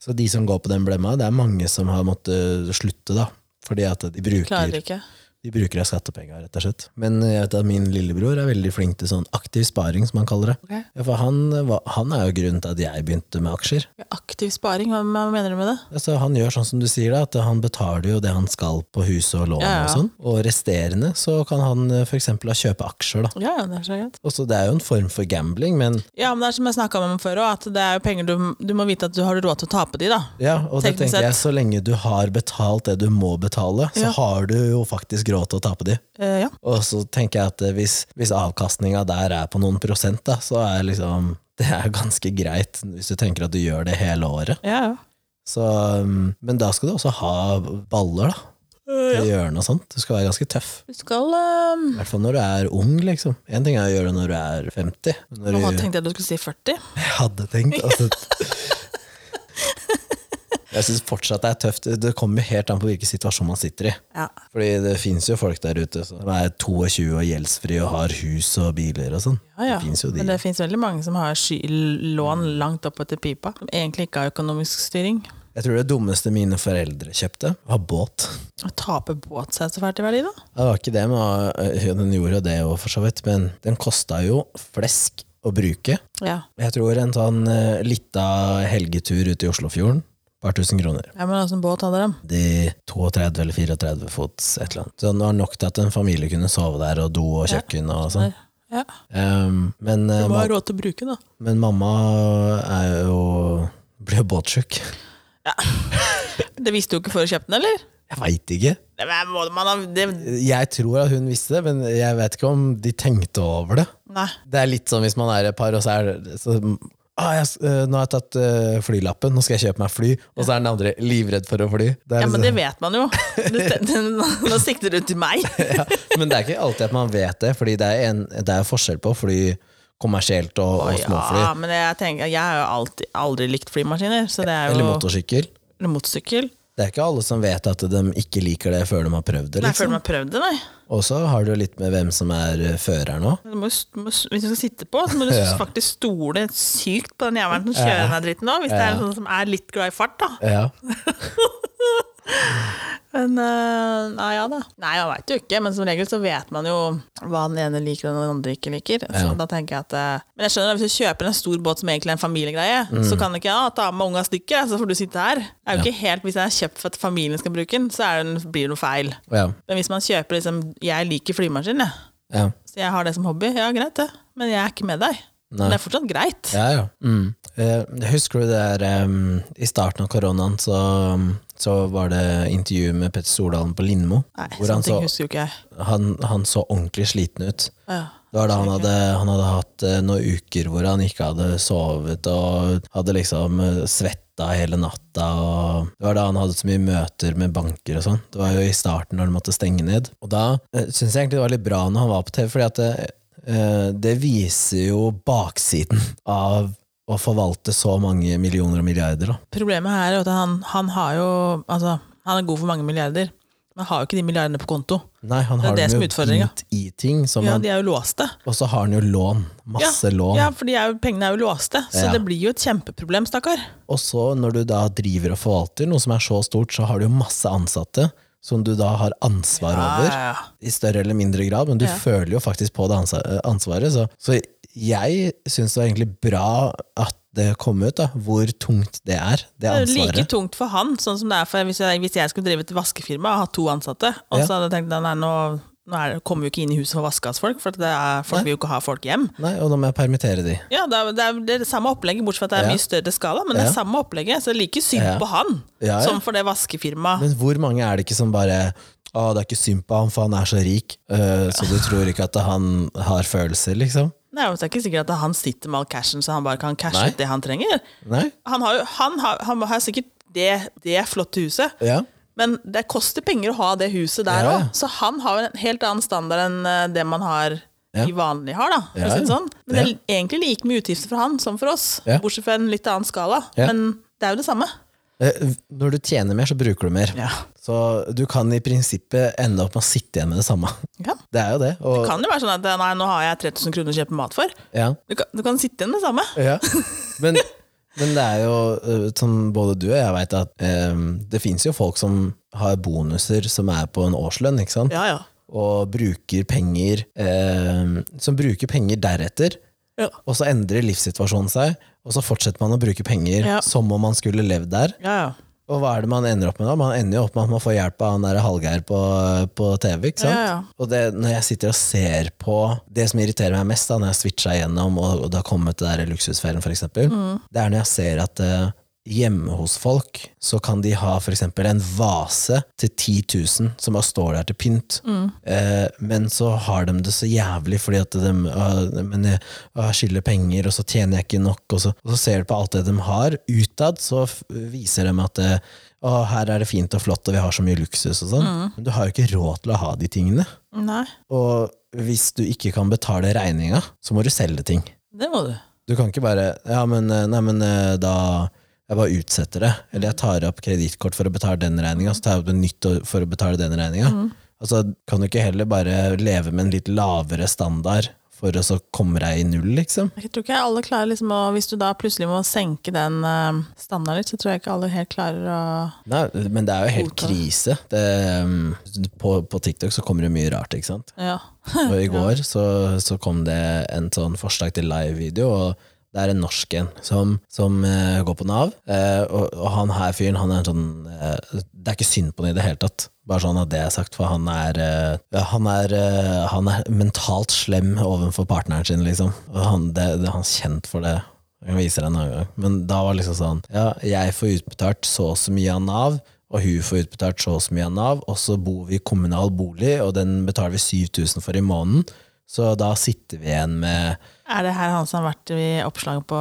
Speaker 1: Så de som går på den blemma, det er mange som har måttet slutte, da. Fordi at de bruker
Speaker 2: Klarer ikke.
Speaker 1: de bruker av skattepenger, rett og slett. Men jeg vet at min lillebror er veldig flink til sånn aktiv sparing, som han kaller det.
Speaker 2: Ok.
Speaker 1: Ja, for han, var- han er jo grunnen til at jeg begynte med aksjer.
Speaker 2: Aktiv sparing, hva hva mener du med det?
Speaker 1: Altså, han gjør sånn som du sier, da, at han betaler jo det han skal på huset og lån
Speaker 2: Ja, ja.
Speaker 1: og sånn. Og resterende så kan han f.eks. kjøpe aksjer, da.
Speaker 2: Ja, ja, det er så greit.
Speaker 1: Og så det er jo en form for gambling, men
Speaker 2: Ja, men det er som jeg snakka om før òg, at det er jo penger du, du må vite at du har råd til å tape de, da.
Speaker 1: ja, og det
Speaker 2: Teknisk
Speaker 1: tenker
Speaker 2: sett.
Speaker 1: jeg, så lenge du har betalt det du må betale, så
Speaker 2: Ja.
Speaker 1: har du jo faktisk råd til å tape de.
Speaker 2: Eh, ja.
Speaker 1: Og så tenker jeg at eh, hvis, hvis avkastninga der er på noen prosent, da, så er liksom det er ganske greit hvis du tenker at du gjør det hele året.
Speaker 2: ja, ja.
Speaker 1: Så, um, men da skal du også ha baller, da.
Speaker 2: Eh,
Speaker 1: Til
Speaker 2: ja.
Speaker 1: å gjøre noe sånt. Du skal være ganske tøff.
Speaker 2: Du skal eh,
Speaker 1: I hvert fall når du er ung, liksom. Én ting er å gjøre det når du er 50. Når
Speaker 2: Nå
Speaker 1: du
Speaker 2: tenkte jeg at du skulle si 40.
Speaker 1: jeg hadde tenkt altså, Jeg syns fortsatt det er tøft. Det kommer jo helt an på hvilken situasjon man sitter i.
Speaker 2: Ja.
Speaker 1: Fordi det finnes jo folk der ute som er 22 og gjeldsfri og har hus og biler og sånn.
Speaker 2: Ja, ja.
Speaker 1: Det finnes jo de. Mm.
Speaker 2: Men det fins veldig mange som har sky lån langt opp etter pipa, som egentlig ikke har økonomisk styring.
Speaker 1: Jeg tror det dummeste mine foreldre kjøpte, var båt.
Speaker 2: Å tape båt seg så fælt i verdi, da.
Speaker 1: Det var ikke det, men øh, den gjorde jo det jo for så vidt. Men den kosta jo flesk å bruke.
Speaker 2: Ja.
Speaker 1: Jeg tror en sånn øh, lita helgetur ute i Oslofjorden, par tusen kroner.
Speaker 2: ja, men åssen altså båt hadde de?
Speaker 1: De 32 eller 34 fots, et eller annet. Så det var nok til at en familie kunne sove der, og do og kjøkken og sånn.
Speaker 2: Ja.
Speaker 1: Ehm, men, øh,
Speaker 2: Du må
Speaker 1: ma
Speaker 2: ha råd til å bruke, da.
Speaker 1: men mamma er jo ble jo båtsjuk.
Speaker 2: Det visste du ikke før du kjøpte den, eller?
Speaker 1: Jeg veit ikke.
Speaker 2: Det, men må man ha, det,
Speaker 1: Jeg tror at hun visste det, men jeg vet ikke om de tenkte over det.
Speaker 2: nei.
Speaker 1: Det er litt sånn hvis man er et par, og så er det så, ah, jeg, s- eh, Nå har jeg tatt eh, flylappen, nå skal jeg kjøpe meg fly. Og så er den andre livredd for å fly. Det er
Speaker 2: Ja, men det
Speaker 1: liksom-
Speaker 2: vet man jo. Du, nå sikter du til meg.
Speaker 1: ja, men det er ikke alltid at man vet det, Fordi det er, en, det er forskjell på fly kommersielt og, og småfly.
Speaker 2: Ja, men jeg, tenker, jeg har jo alltid, aldri likt flymaskiner, så det er jo
Speaker 1: Eller motorsykkel.
Speaker 2: eller motorsykkel.
Speaker 1: Det er ikke alle som vet at de ikke liker det før de har prøvd det.
Speaker 2: Nei,
Speaker 1: Liksom.
Speaker 2: før de har prøvd det, nei.
Speaker 1: Og så har du litt med hvem som er eh, føreren òg.
Speaker 2: Du må, jo- må, hvis du skal sitte på, så må du
Speaker 1: Ja.
Speaker 2: faktisk stole sykt på den jævelen som kjører den her dritten nå, hvis det er noen som er litt glad i fart, da.
Speaker 1: Ja.
Speaker 2: Men eh, nei, ja da. Nei, jeg veit jo ikke, men som regel så vet man jo hva den ene liker og den andre ikke liker. Så da tenker jeg at eh, Men jeg skjønner at hvis du kjøper en stor båt som egentlig er en familiegreie, så kan du ikke ja, ta med unga stykker, så får du sitte her. Det er jo ikke helt, Hvis den er kjøpt for at familien skal bruke den, så er det, en- blir det noe feil.
Speaker 1: ja.
Speaker 2: Men hvis man kjøper liksom Jeg liker flymaskin, jeg.
Speaker 1: ja.
Speaker 2: Så jeg har det som hobby. Ja, greit det. Men jeg er ikke med deg. Men det er fortsatt greit.
Speaker 1: Ja, ja. Mm. Eh, husker du det der em, I starten av koronaen så, så var det intervju med Petter Stordalen på Lindmo.
Speaker 2: Nei,
Speaker 1: Hvor han
Speaker 2: sånne
Speaker 1: så,
Speaker 2: ting husker jo ikke jeg.
Speaker 1: han, han så ordentlig sliten ut.
Speaker 2: Ja.
Speaker 1: Det var da han hadde, han hadde hatt eh, noen uker hvor han ikke hadde sovet og hadde liksom eh, svetta hele natta. Og det var da han hadde så mye møter med banker og sånn. Det var jo i starten når de måtte stenge ned. Og da eh, syns jeg egentlig det var litt bra når han var på TV, fordi at det, eh, det viser jo baksiden av å forvalte så mange millioner og milliarder. Da.
Speaker 2: Problemet her er jo at han, han har jo Altså, han er god for mange milliarder. Men har jo ikke de milliardene på konto.
Speaker 1: Nei, han
Speaker 2: Det er
Speaker 1: har
Speaker 2: det som
Speaker 1: dem
Speaker 2: er
Speaker 1: jo
Speaker 2: utfordringen.
Speaker 1: bit i ting, som
Speaker 2: Ja,
Speaker 1: han,
Speaker 2: De er jo låste.
Speaker 1: og så har han jo lån. Masse lån.
Speaker 2: Ja, for de er jo, pengene er jo låste, så
Speaker 1: Ja.
Speaker 2: det blir jo et kjempeproblem, stakkar.
Speaker 1: Og så når du da driver og forvalter noe som er så stort, så har du jo masse ansatte som du da har ansvar over.
Speaker 2: Ja, ja, ja.
Speaker 1: I større eller mindre grad, men du
Speaker 2: Ja.
Speaker 1: føler jo faktisk på det ansa- eh, ansvaret. Så, så jeg syns det var egentlig bra at det kom ut, da, hvor tungt det er, det
Speaker 2: Det er jo like
Speaker 1: ansvaret.
Speaker 2: tungt for han, sånn som det er for hvis jeg, hvis jeg skulle drive et vaskefirma og ha to ansatte, og
Speaker 1: Ja.
Speaker 2: så hadde jeg tenkt at nei, nå, nå er, det- kommer vi jo ikke inn i huset for å vaske hos folk, for det er, folk vil jo ikke ha folk hjem.
Speaker 1: Nei, og nå må jeg permittere de.
Speaker 2: Ja, det er det, er, det, er det samme opplegget, bortsett fra at det er
Speaker 1: Ja.
Speaker 2: mye større skala, men det
Speaker 1: Ja.
Speaker 2: er samme opplegget, så det er like synd
Speaker 1: Ja.
Speaker 2: på han
Speaker 1: Ja, ja.
Speaker 2: som for det vaskefirmaet.
Speaker 1: Men hvor mange er det ikke som bare Å, det er ikke synd på ham, for han er så rik, øh, så du tror ikke at han har følelser, liksom?
Speaker 2: Nei, altså, Det er ikke sikkert at han sitter med all cashen, så han bare kan cashe
Speaker 1: Nei.
Speaker 2: ut det han trenger.
Speaker 1: Nei?
Speaker 2: Han har jo han har, han har sikkert det, det flotte huset,
Speaker 1: Ja.
Speaker 2: men det koster penger å ha det huset der
Speaker 1: Ja,
Speaker 2: òg,
Speaker 1: ja.
Speaker 2: så han har en helt annen standard enn eh, det man har
Speaker 1: Ja.
Speaker 2: de vanlige har. da for
Speaker 1: Ja,
Speaker 2: å si det
Speaker 1: ja.
Speaker 2: sånn. Men det er egentlig like mye utgifter for han som for oss,
Speaker 1: Ja.
Speaker 2: bortsett fra en litt annen skala.
Speaker 1: Ja.
Speaker 2: Men det er jo det samme.
Speaker 1: Eh, Når du tjener mer, så bruker du mer.
Speaker 2: Ja.
Speaker 1: Så du kan i prinsippet ende opp med å sitte igjen med det samme.
Speaker 2: Ja.
Speaker 1: Det er jo det. Og,
Speaker 2: Kan det være sånn at eh, nei, nå har jeg 3000 kroner å kjøpe mat for?
Speaker 1: ja.
Speaker 2: Du kan, du kan sitte igjen med det samme.
Speaker 1: Ja. Men, men det er jo, eh, som både du og jeg vet, at eh, det fins jo folk som har bonuser som er på en årslønn, ikke sant?
Speaker 2: Ja, ja.
Speaker 1: og bruker penger eh, Som bruker penger deretter,
Speaker 2: Ja.
Speaker 1: og så endrer livssituasjonen seg, og så fortsetter man å bruke penger
Speaker 2: Ja.
Speaker 1: som om man skulle levd der.
Speaker 2: ja, ja.
Speaker 1: Og hva er det man ender opp med da? Man ender jo opp med at man får hjelp av han der Hallgeir på, eh, på TV. ikke sant?
Speaker 2: Ja, ja.
Speaker 1: Og det, når jeg sitter og ser på Det som irriterer meg mest da, når jeg switcha igjennom, og, og det har kommet det der luksusfellen, f.eks., eksempel det er når jeg ser at eh, hjemme hos folk så kan de ha f.eks. en vase til 10 000 som bare står der til pynt, eh, men så har de det så jævlig fordi at de ah, men jeg, ah, jeg skylder penger, og så tjener jeg ikke nok, og så, og så ser du på alt det de har. Utad så f viser de at eh, å, her er det fint og flott, og vi har så mye luksus og sånn. Men du har jo ikke råd til å ha de tingene.
Speaker 2: Nei,
Speaker 1: Og hvis du ikke kan betale regninga, så må du selge ting.
Speaker 2: det må du.
Speaker 1: Du kan ikke bare Ja, men, eh, nei, men eh, da Jeg bare utsetter det. Eller jeg tar opp kredittkort for å betale den regninga, så tar jeg opp en nytt å- for å betale den regninga. Altså, kan du ikke heller bare leve med en litt lavere standard for å så komme deg i null, liksom?
Speaker 2: Jeg tror ikke alle klarer liksom å, Hvis du da plutselig må senke den eh, standarden litt, så tror jeg ikke alle helt klarer å
Speaker 1: Nei, men det er jo helt
Speaker 2: Kvote.
Speaker 1: krise. Det, um, på, på TikTok så kommer det mye rart, ikke sant?
Speaker 2: Ja.
Speaker 1: Og i går så, så kom det en sånn forslag til live-video, og det er en norsk en som, som eh, går på Nav. eh, og, og han her fyren, han er en sånn eh, Det er ikke synd på han i det hele tatt. Bare sånn at det er sagt, for han er, eh, ja, han er, eh, han er mentalt slem overfor partneren sin, liksom. Og han, det, det, han er kjent for det. Jeg kan vise deg en annen gang. Men da var det liksom sånn Ja, jeg får utbetalt så og så mye av Nav, og hun får utbetalt så og så mye av Nav, og så bor vi i kommunal bolig, og den betaler vi 7000 for i måneden. Så da sitter vi igjen med
Speaker 2: Er det her han som har vært i oppslaget på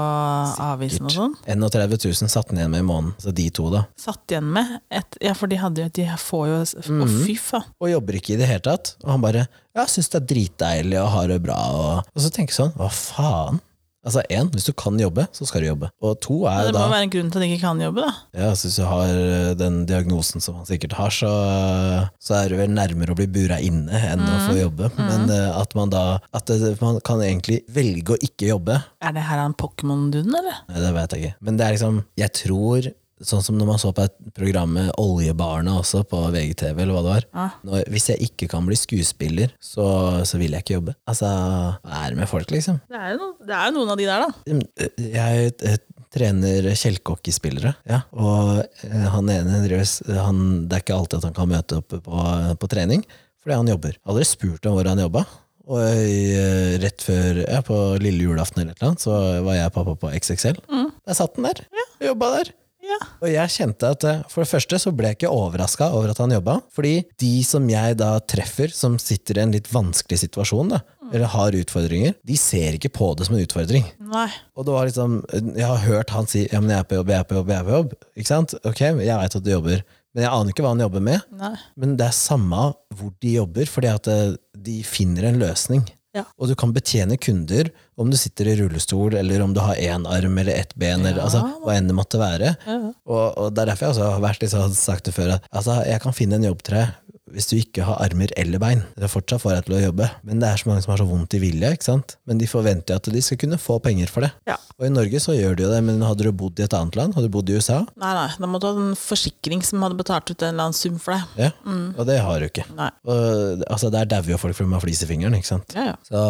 Speaker 2: avisen og sånn?
Speaker 1: 31 000 satt ned med i måneden. Så de to, da.
Speaker 2: Satt igjen med et Ja, for de hadde jo De får jo Å, fy faen.
Speaker 1: Og jobber ikke i det hele tatt. Og han bare Ja, syns det er dritdeilig og har det bra. Og, og så tenker jeg sånn Hva faen? Altså, én, hvis du kan jobbe, så skal du jobbe. Og to er
Speaker 2: Det
Speaker 1: jo
Speaker 2: må
Speaker 1: da
Speaker 2: jo være en grunn til at de ikke kan jobbe, da.
Speaker 1: Ja, så Hvis du har eh, den diagnosen som han sikkert har, så, eh, så er du vel nærmere å bli bura inne enn å få jobbe. Men eh, at man da At det, man kan egentlig velge å ikke jobbe,
Speaker 2: Er det her han Pokémon-duden, eller?
Speaker 1: Nei, det vet jeg ikke. Men det er liksom Jeg tror Sånn som når man så på et program med Oljebarna også, på VGTV, eller hva det var.
Speaker 2: Ja.
Speaker 1: Når, hvis jeg ikke kan bli skuespiller, så, så vil jeg ikke jobbe. Altså, hva er det med folk, liksom?
Speaker 2: Det er jo noen, det er jo noen av de der, da.
Speaker 1: Jeg eh, trener kjellkokkespillere, ja. og eh, han ene driver s- han, Det er ikke alltid at han kan møte opp på, på trening, fordi han jobber. Jeg har aldri spurt om hvor han jobba. Og eh, rett før ja, på lille julaften eller et eller annet, så var jeg og pappa på XXL. Der satt han der. Jobba der.
Speaker 2: Ja.
Speaker 1: Og jeg kjente at eh, for det første så ble jeg ikke overraska over at han jobba, fordi de som jeg da treffer, som sitter i en litt vanskelig situasjon, da, eller har utfordringer, de ser ikke på det som en utfordring.
Speaker 2: Nei.
Speaker 1: Og det var liksom, jeg har hørt han si ja, men jeg er på jobb, jeg er på jobb, jeg er på jobb. Ikke sant? Ok, jeg vet at du jobber, men jeg aner ikke hva han jobber med.
Speaker 2: Nei.
Speaker 1: Men det er samme hvor de jobber, fordi at eh, de finner en løsning.
Speaker 2: Ja.
Speaker 1: Og du kan betjene kunder om du sitter i rullestol, eller om du har én arm eller ett ben, eller
Speaker 2: Ja.
Speaker 1: altså, hva enn det måtte være.
Speaker 2: Ja.
Speaker 1: Og, og det er derfor jeg også har vært litt sånn, sagt det før, at altså, jeg kan finne en jobb til deg hvis du ikke har armer eller bein. Det er fortsatt får deg til å jobbe. Men det er så mange som har så vondt i vilje, ikke sant? Men de forventer jo at de skal kunne få penger for det.
Speaker 2: Ja.
Speaker 1: Og i Norge så gjør de jo det, men hadde du bodd i et annet land, hadde du bodd i USA,
Speaker 2: Nei, nei, da måtte du ha en forsikring som hadde betalt ut en eller annen sum for deg.
Speaker 1: ja, og det har du ikke.
Speaker 2: Mm. Nei.
Speaker 1: Og, altså, der dauer jo folk fordi de har flis i fingeren, ikke sant?
Speaker 2: Ja, ja.
Speaker 1: Så,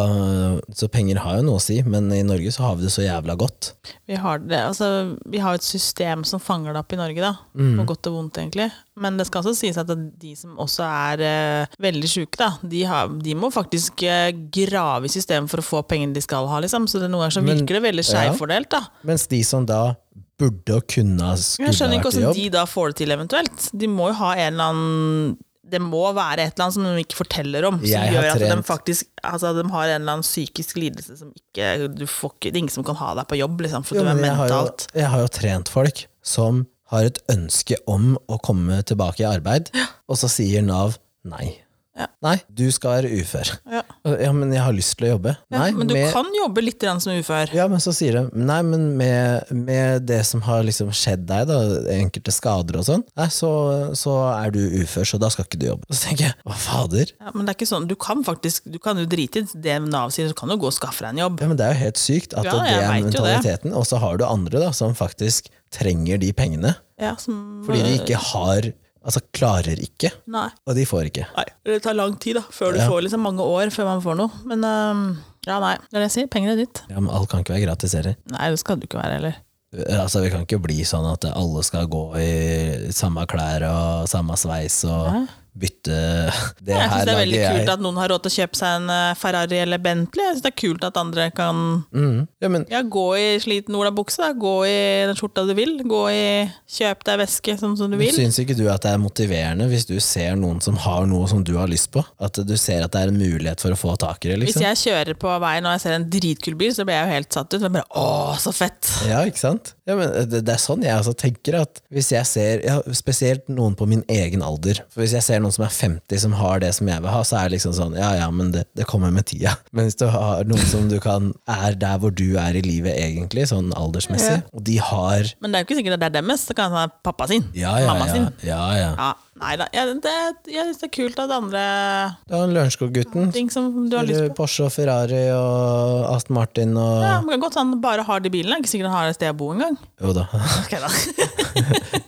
Speaker 1: så penger har jo noe å si, men i Norge så har vi det så jævla godt.
Speaker 2: Vi har det, altså, vi har et system som fanger det opp i Norge, da. På godt og vondt, egentlig. Men det skal også sies at de som også er eh, veldig sjuke, da, de, har, de må faktisk eh, grave i systemet for å få pengene de skal ha, liksom. Så det er noen ganger så
Speaker 1: Men-
Speaker 2: virker det veldig
Speaker 1: ja.
Speaker 2: skjevfordelt, da.
Speaker 1: Mens de som da burde og kunne ha
Speaker 2: Jeg
Speaker 1: skulle
Speaker 2: skjønner
Speaker 1: ha
Speaker 2: ikke
Speaker 1: vært i
Speaker 2: hvordan
Speaker 1: jobb,
Speaker 2: de da får det til, eventuelt. De må jo ha en eller annen det må være et eller annet som de ikke forteller om, som
Speaker 1: Jeg har
Speaker 2: gjør at de
Speaker 1: trent-
Speaker 2: faktisk altså, de har en eller annen psykisk lidelse som ikke, du får ikke Det er ingen som kan ha deg på jobb, liksom, for
Speaker 1: Jo,
Speaker 2: du er
Speaker 1: men jeg har,
Speaker 2: mentalt
Speaker 1: jo, jeg har jo trent folk som har et ønske om å komme tilbake i arbeid, og så sier Nav nei.
Speaker 2: Ja.
Speaker 1: Nei, du skal være ufør.
Speaker 2: Ja.
Speaker 1: Ja, men jeg har lyst til å jobbe. nei,
Speaker 2: Ja, men du
Speaker 1: med,
Speaker 2: kan jobbe litt grann som ufør.
Speaker 1: ja, men så sier de nei, men med, med det som har liksom skjedd deg, da, enkelte skader og sånn, nei, så, så er du ufør, så da skal ikke du jobbe. Så tenker jeg, hva fader?
Speaker 2: Ja, men det er ikke sånn, du kan faktisk Du kan jo drite i det Nav sier, så kan du gå og skaffe deg en jobb.
Speaker 1: Ja, men Det er jo helt sykt at
Speaker 2: Ja,
Speaker 1: det er
Speaker 2: jeg vet jo det.
Speaker 1: mentaliteten. Og så har du andre da, som faktisk trenger de pengene.
Speaker 2: Ja, som,
Speaker 1: Fordi de ikke har Altså klarer ikke,
Speaker 2: Nei.
Speaker 1: og de får ikke.
Speaker 2: nei. Det tar lang tid, da, før du
Speaker 1: Ja.
Speaker 2: får liksom mange år før man får noe. Men øhm, ja, nei. Det er det jeg sier, pengene er ditt.
Speaker 1: Ja, men Alt kan ikke være gratis heller.
Speaker 2: Nei, det skal du ikke være heller.
Speaker 1: Altså, Vi kan ikke bli sånn at alle skal gå i samme klær og samme sveis og
Speaker 2: Nei.
Speaker 1: bytte Det
Speaker 2: Jeg
Speaker 1: her
Speaker 2: syns det er
Speaker 1: lager
Speaker 2: veldig kult
Speaker 1: jeg.
Speaker 2: at noen har råd til å kjøpe seg en eh, Ferrari eller Bentley. Jeg syns det er kult at andre kan
Speaker 1: Mm. Ja, men,
Speaker 2: ja, gå i sliten olabukse, da. gå i den skjorta du vil, gå i kjøp deg væske sånn som du vil.
Speaker 1: Syns ikke du at det er motiverende hvis du ser noen som har noe som du har lyst på? At du ser at det er en mulighet for å få tak i det?
Speaker 2: Hvis
Speaker 1: liksom?
Speaker 2: jeg kjører på veien og jeg ser en dritkul bil, så blir jeg jo helt satt ut. Men bare, Åh, så fett!
Speaker 1: Ja, ikke sant? Ja, men det, det er sånn jeg også tenker at hvis jeg ser, ja, spesielt noen på min egen alder, for hvis jeg ser noen som er 50 som har det som jeg vil ha, så er det liksom sånn, ja ja, men det, det kommer med tida. Men hvis du har noen som du kan, er der hvor du er i livet egentlig, sånn aldersmessig, og de har,
Speaker 2: Men det er jo ikke sikkert det er deres. Det kan være pappa sin.
Speaker 1: ja ja
Speaker 2: mamma
Speaker 1: ja,
Speaker 2: sin.
Speaker 1: ja, ja.
Speaker 2: Ja, nei da. Jeg, det, jeg syns det er kult at andre
Speaker 1: Du har Lørenskog-gutten,
Speaker 2: ting som du har lyst på
Speaker 1: Porsche og Ferrari og Aston Martin og,
Speaker 2: ja, man kan godt han bare har de bilene. Ikke sikkert han har et sted å bo engang.
Speaker 1: jo da,
Speaker 2: Ok, da.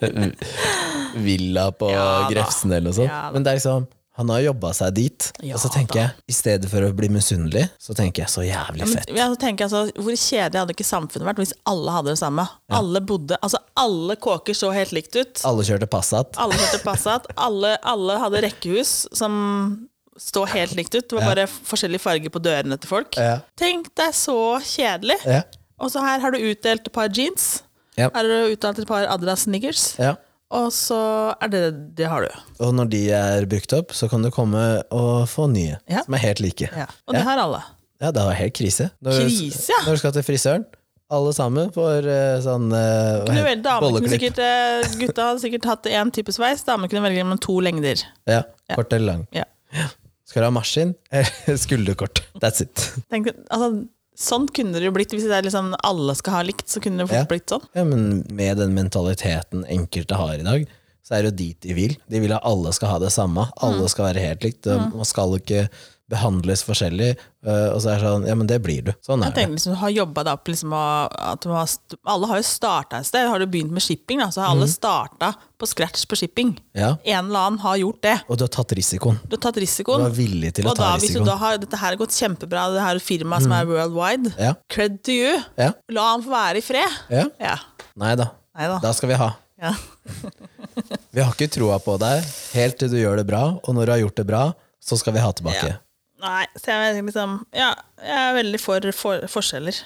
Speaker 1: villa på
Speaker 2: Ja da.
Speaker 1: Grefsen eller noe sånt.
Speaker 2: Ja da.
Speaker 1: Men det er liksom han har jobba seg dit,
Speaker 2: Ja
Speaker 1: og så tenker
Speaker 2: da.
Speaker 1: jeg i stedet for å bli misunnelig, så tenker jeg så jævlig fett.
Speaker 2: Ja, så tenker jeg altså, Hvor kjedelig hadde ikke samfunnet vært hvis alle hadde det samme? Alle bodde, altså alle kåker så helt likt ut.
Speaker 1: Alle kjørte Passat.
Speaker 2: Alle kjørte Passat. Alle, alle hadde rekkehus som står helt likt ut. Det var bare forskjellig farge på dørene til folk.
Speaker 1: Ja.
Speaker 2: Tenk, det er så kjedelig.
Speaker 1: Ja.
Speaker 2: Og så her har du utdelt et par jeans.
Speaker 1: Ja.
Speaker 2: Her har du utdelt et par Adidas snickers.
Speaker 1: ja.
Speaker 2: Og så er det det har du.
Speaker 1: Og når de er brukt opp, så kan du komme og få nye
Speaker 2: Ja.
Speaker 1: som er helt like. Ja,
Speaker 2: Og det har alle.
Speaker 1: det var helt krise. Når,
Speaker 2: Krise, ja.
Speaker 1: når du skal til frisøren, alle sammen får eh, sånn eh, hva
Speaker 2: Du
Speaker 1: heter
Speaker 2: vel,
Speaker 1: det?
Speaker 2: damene kunne
Speaker 1: bolleklipp.
Speaker 2: sikkert, eh, gutta hadde sikkert hatt én type sveis. Damene kunne velge mellom to lengder.
Speaker 1: Ja, kort eller lang.
Speaker 2: Ja.
Speaker 1: Skal du ha maskin eller skulderkort? That's it.
Speaker 2: Tenk, altså, sånn kunne det jo blitt. Hvis det er liksom alle skal ha likt, så kunne det fort
Speaker 1: Ja.
Speaker 2: blitt sånn.
Speaker 1: Ja, men med den mentaliteten enkelte har i dag, så er det jo dit de vil. De vil at alle skal ha det samme,
Speaker 2: Mm.
Speaker 1: alle skal være helt likt, og man skal ikke behandles forskjellig. øh, Og så er det sånn, ja, men det blir du. Sånn
Speaker 2: Jeg
Speaker 1: er det.
Speaker 2: tenker liksom, du har jobbet deg opp liksom, og at du har, st- Alle har jo starta et sted. Har du begynt med shipping, da, så har
Speaker 1: Mhm.
Speaker 2: alle starta på scratch på shipping.
Speaker 1: Ja.
Speaker 2: En eller annen har gjort det.
Speaker 1: Og du har tatt risikoen.
Speaker 2: Du har tatt
Speaker 1: Du
Speaker 2: risikoen.
Speaker 1: er villig til å
Speaker 2: Og da,
Speaker 1: ta
Speaker 2: hvis du
Speaker 1: risikoen. Mhm.
Speaker 2: da har Dette her har gått kjempebra, det her firmaet som er worldwide.
Speaker 1: Ja.
Speaker 2: Cred to you.
Speaker 1: Ja.
Speaker 2: La han få være i fred.
Speaker 1: ja.
Speaker 2: Ja.
Speaker 1: Nei da.
Speaker 2: Nei da.
Speaker 1: Da skal vi ha.
Speaker 2: Ja.
Speaker 1: Vi har ikke troa på deg helt til du gjør det bra, og når du har gjort det bra, så skal vi ha tilbake.
Speaker 2: Nei, så jeg, er liksom, ja, jeg er veldig for, for forskjeller.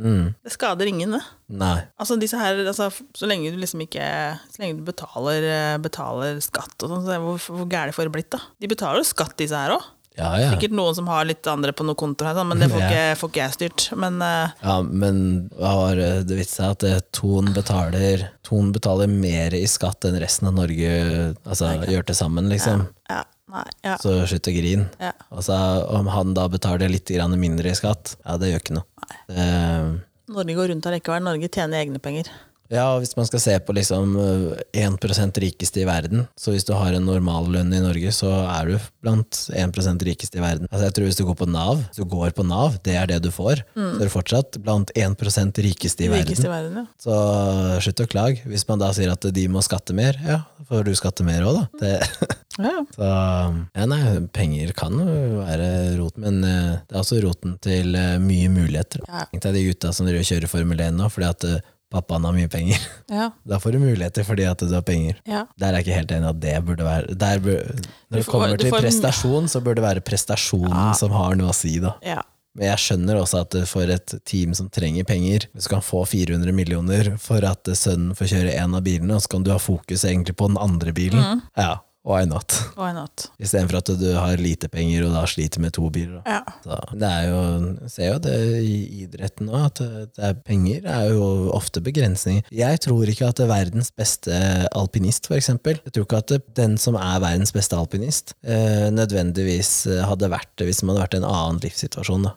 Speaker 1: Mm.
Speaker 2: Det skader ingen, det.
Speaker 1: Nei.
Speaker 2: Altså disse her, altså, så lenge du liksom ikke Så lenge du betaler, eh, betaler skatt og sånn, så er det hvor, hvor gærent får det blitt, da? De betaler jo skatt, disse her òg.
Speaker 1: Ja, ja.
Speaker 2: Sikkert noen som har litt andre på noen kontoer her, sånn, men det får
Speaker 1: Ja.
Speaker 2: ikke, får ikke jeg styrt. Men eh,
Speaker 1: Ja, men hva har det vist seg at eh, Thon betaler, Thon betaler mer i skatt enn resten av Norge altså, gjør til sammen, liksom.
Speaker 2: ja, nei, ja,
Speaker 1: Så slutt å grine.
Speaker 2: Ja.
Speaker 1: Altså, om han da betaler litt grann mindre i skatt, ja, det gjør ikke noe. Eh, Det,
Speaker 2: Norge går rundt allikevel. Norge tjener egne penger.
Speaker 1: Ja, hvis man skal se på liksom eh, 1 rikeste i verden, så hvis du har en normallønn i Norge, så er du blant 1 rikeste i verden. Altså jeg tror hvis du går på NAV, hvis du går på NAV, det er det du får, så er du fortsatt blant 1 rikeste i verden.
Speaker 2: Rikeste Mm. i verden, ja.
Speaker 1: Så slutt å klage. Hvis man da sier at de må skatte mer, ja, da får du skatte mer òg, da. Det,
Speaker 2: ja. ja.
Speaker 1: så ja, nei, penger kan jo være roten, men eh, det er også roten til eh, mye muligheter.
Speaker 2: Ja.
Speaker 1: Tenk deg de gutta som driver og kjører Formel 1 nå fordi at eh, pappaen har mye penger.
Speaker 2: Ja.
Speaker 1: Da får du muligheter fordi at du har penger.
Speaker 2: ja.
Speaker 1: Der er jeg ikke helt enig at det burde være der bør, Når det
Speaker 2: får-
Speaker 1: kommer
Speaker 2: du
Speaker 1: til
Speaker 2: får-
Speaker 1: prestasjon, så bør det være prestasjonen som har noe å si, da.
Speaker 2: ja.
Speaker 1: Men jeg skjønner også at for et team som trenger penger, hvis du kan få 400 millioner for at sønnen får kjøre en av bilene, og så kan du ha fokus egentlig på den andre bilen, ja, why not?
Speaker 2: Why not?
Speaker 1: Istedenfor at du har lite penger og da sliter med to biler. Da.
Speaker 2: Ja.
Speaker 1: Så det er jo, jeg ser jo det i idretten òg, at det er penger er jo ofte begrensninger. Jeg tror ikke at det er verdens beste alpinist, for eksempel Jeg tror ikke at det, den som er verdens beste alpinist, eh, nødvendigvis hadde vært det hvis man hadde vært i en annen livssituasjon. da.